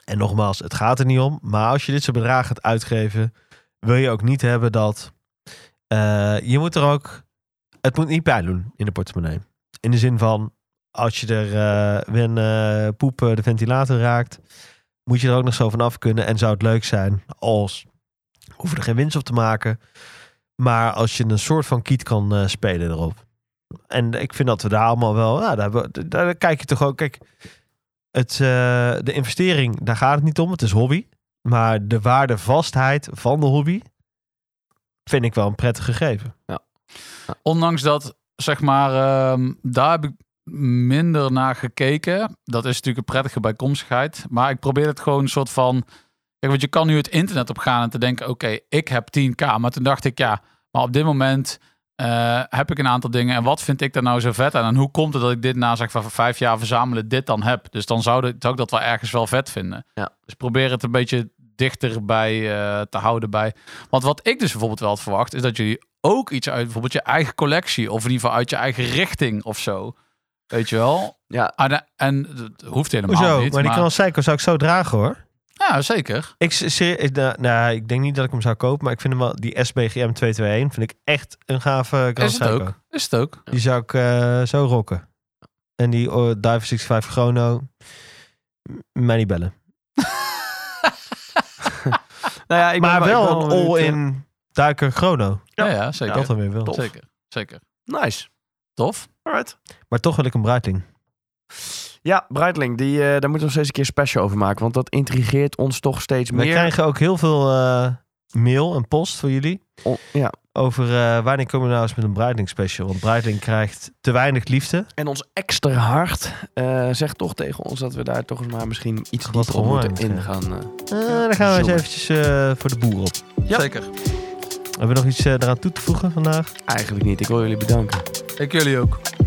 [SPEAKER 3] En nogmaals, het gaat er niet om. Maar als je dit soort bedragen gaat uitgeven, wil je ook niet hebben dat. eh, je moet er ook. Het moet niet pijn doen in de portemonnee. In de zin van, als je er eh wen eh, poep eh, de ventilator raakt, moet je er ook nog zo van af kunnen. En zou het leuk zijn als. Hoef je er geen winst op te maken. Maar als je een soort van kiet kan eh, spelen erop. En ik vind dat we daar allemaal wel. Nou, daar, hebben we- daar, daar kijk je toch ook. Kijk, het, eh, de investering, daar gaat het niet om. Het is hobby. Maar de waardevastheid van de hobby. vind ik wel een prettig gegeven.
[SPEAKER 2] Ondanks dat, zeg maar, ehm, daar heb ik minder naar gekeken. Dat is natuurlijk een prettige bijkomstigheid. Maar ik probeer het gewoon een soort van... Kijk, want je kan nu het internet op gaan en te denken... oké, ik heb 10k. Maar toen dacht ik, ja, maar op dit moment... eh, heb ik een aantal dingen en wat vind ik daar nou zo vet aan? En hoe komt het dat ik dit na zeg van vijf jaar verzamelen dit dan heb? Dus dan zou, dat- zou ik dat wel ergens wel vet vinden.
[SPEAKER 4] Ja.
[SPEAKER 2] Dus probeer het een beetje dichter bij eh, te houden bij. Want wat ik dus bijvoorbeeld wel had verwacht is dat jullie ook iets uit bijvoorbeeld je eigen collectie of in ieder geval uit je eigen richting of zo. Weet je wel?
[SPEAKER 4] Ja.
[SPEAKER 2] En, eh, en dat hoeft helemaal
[SPEAKER 3] Hoezo?
[SPEAKER 2] niet.
[SPEAKER 3] maar die
[SPEAKER 2] maar-
[SPEAKER 3] kan als Psycho zou ik zo dragen hoor.
[SPEAKER 2] Ja, zeker.
[SPEAKER 3] Ik, s- serie- ik, nou, nou, ik denk niet dat ik hem zou kopen. Maar ik vind hem wel. Die SBGM 221 vind ik echt een gave Grand
[SPEAKER 2] Is het
[SPEAKER 3] Seiko.
[SPEAKER 2] ook? Is het ook?
[SPEAKER 3] Die zou ik eh, zo rocken. En die oh, Diver 65 Chrono. M- Mij niet bellen.
[SPEAKER 4] nou ja, ik ben
[SPEAKER 3] maar
[SPEAKER 4] ik ben
[SPEAKER 3] wel een
[SPEAKER 4] benieuwd, eh,
[SPEAKER 3] all-in duiker Chrono.
[SPEAKER 2] Ja, ja, zeker.
[SPEAKER 3] Dat dan weer wel.
[SPEAKER 2] zeker. Zeker.
[SPEAKER 4] eh. Nice.
[SPEAKER 2] Tof.
[SPEAKER 4] Alright.
[SPEAKER 3] Maar toch wil ik een bruidling.
[SPEAKER 4] Ja, Breitling, die, eh, daar moeten we nog steeds een keer special over maken. Want dat intrigeert ons toch steeds
[SPEAKER 3] We
[SPEAKER 4] meer.
[SPEAKER 3] krijgen ook heel veel eh, mail en post voor jullie.
[SPEAKER 4] On- Oh, ja.
[SPEAKER 3] Over eh, wanneer komen we nou eens met een bruidling special. Want bruidling krijgt te weinig liefde.
[SPEAKER 4] En ons extra hart eh, zegt toch tegen ons dat we daar toch eens maar misschien iets
[SPEAKER 3] Wat
[SPEAKER 4] dieper op moeten
[SPEAKER 3] gehoord, ja.
[SPEAKER 4] ingaan. eh.
[SPEAKER 3] Eh dan gaan we eens
[SPEAKER 4] Jongen.
[SPEAKER 3] eventjes eh, voor de boer op.
[SPEAKER 4] Ja.
[SPEAKER 2] Zeker.
[SPEAKER 3] Hebben we nog iets eh, eraan toe te voegen vandaag?
[SPEAKER 4] eh. Eigenlijk niet. Ik wil jullie bedanken.
[SPEAKER 2] Ik jullie ook.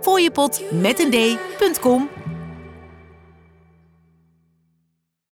[SPEAKER 1] Fooiepot met een d.com.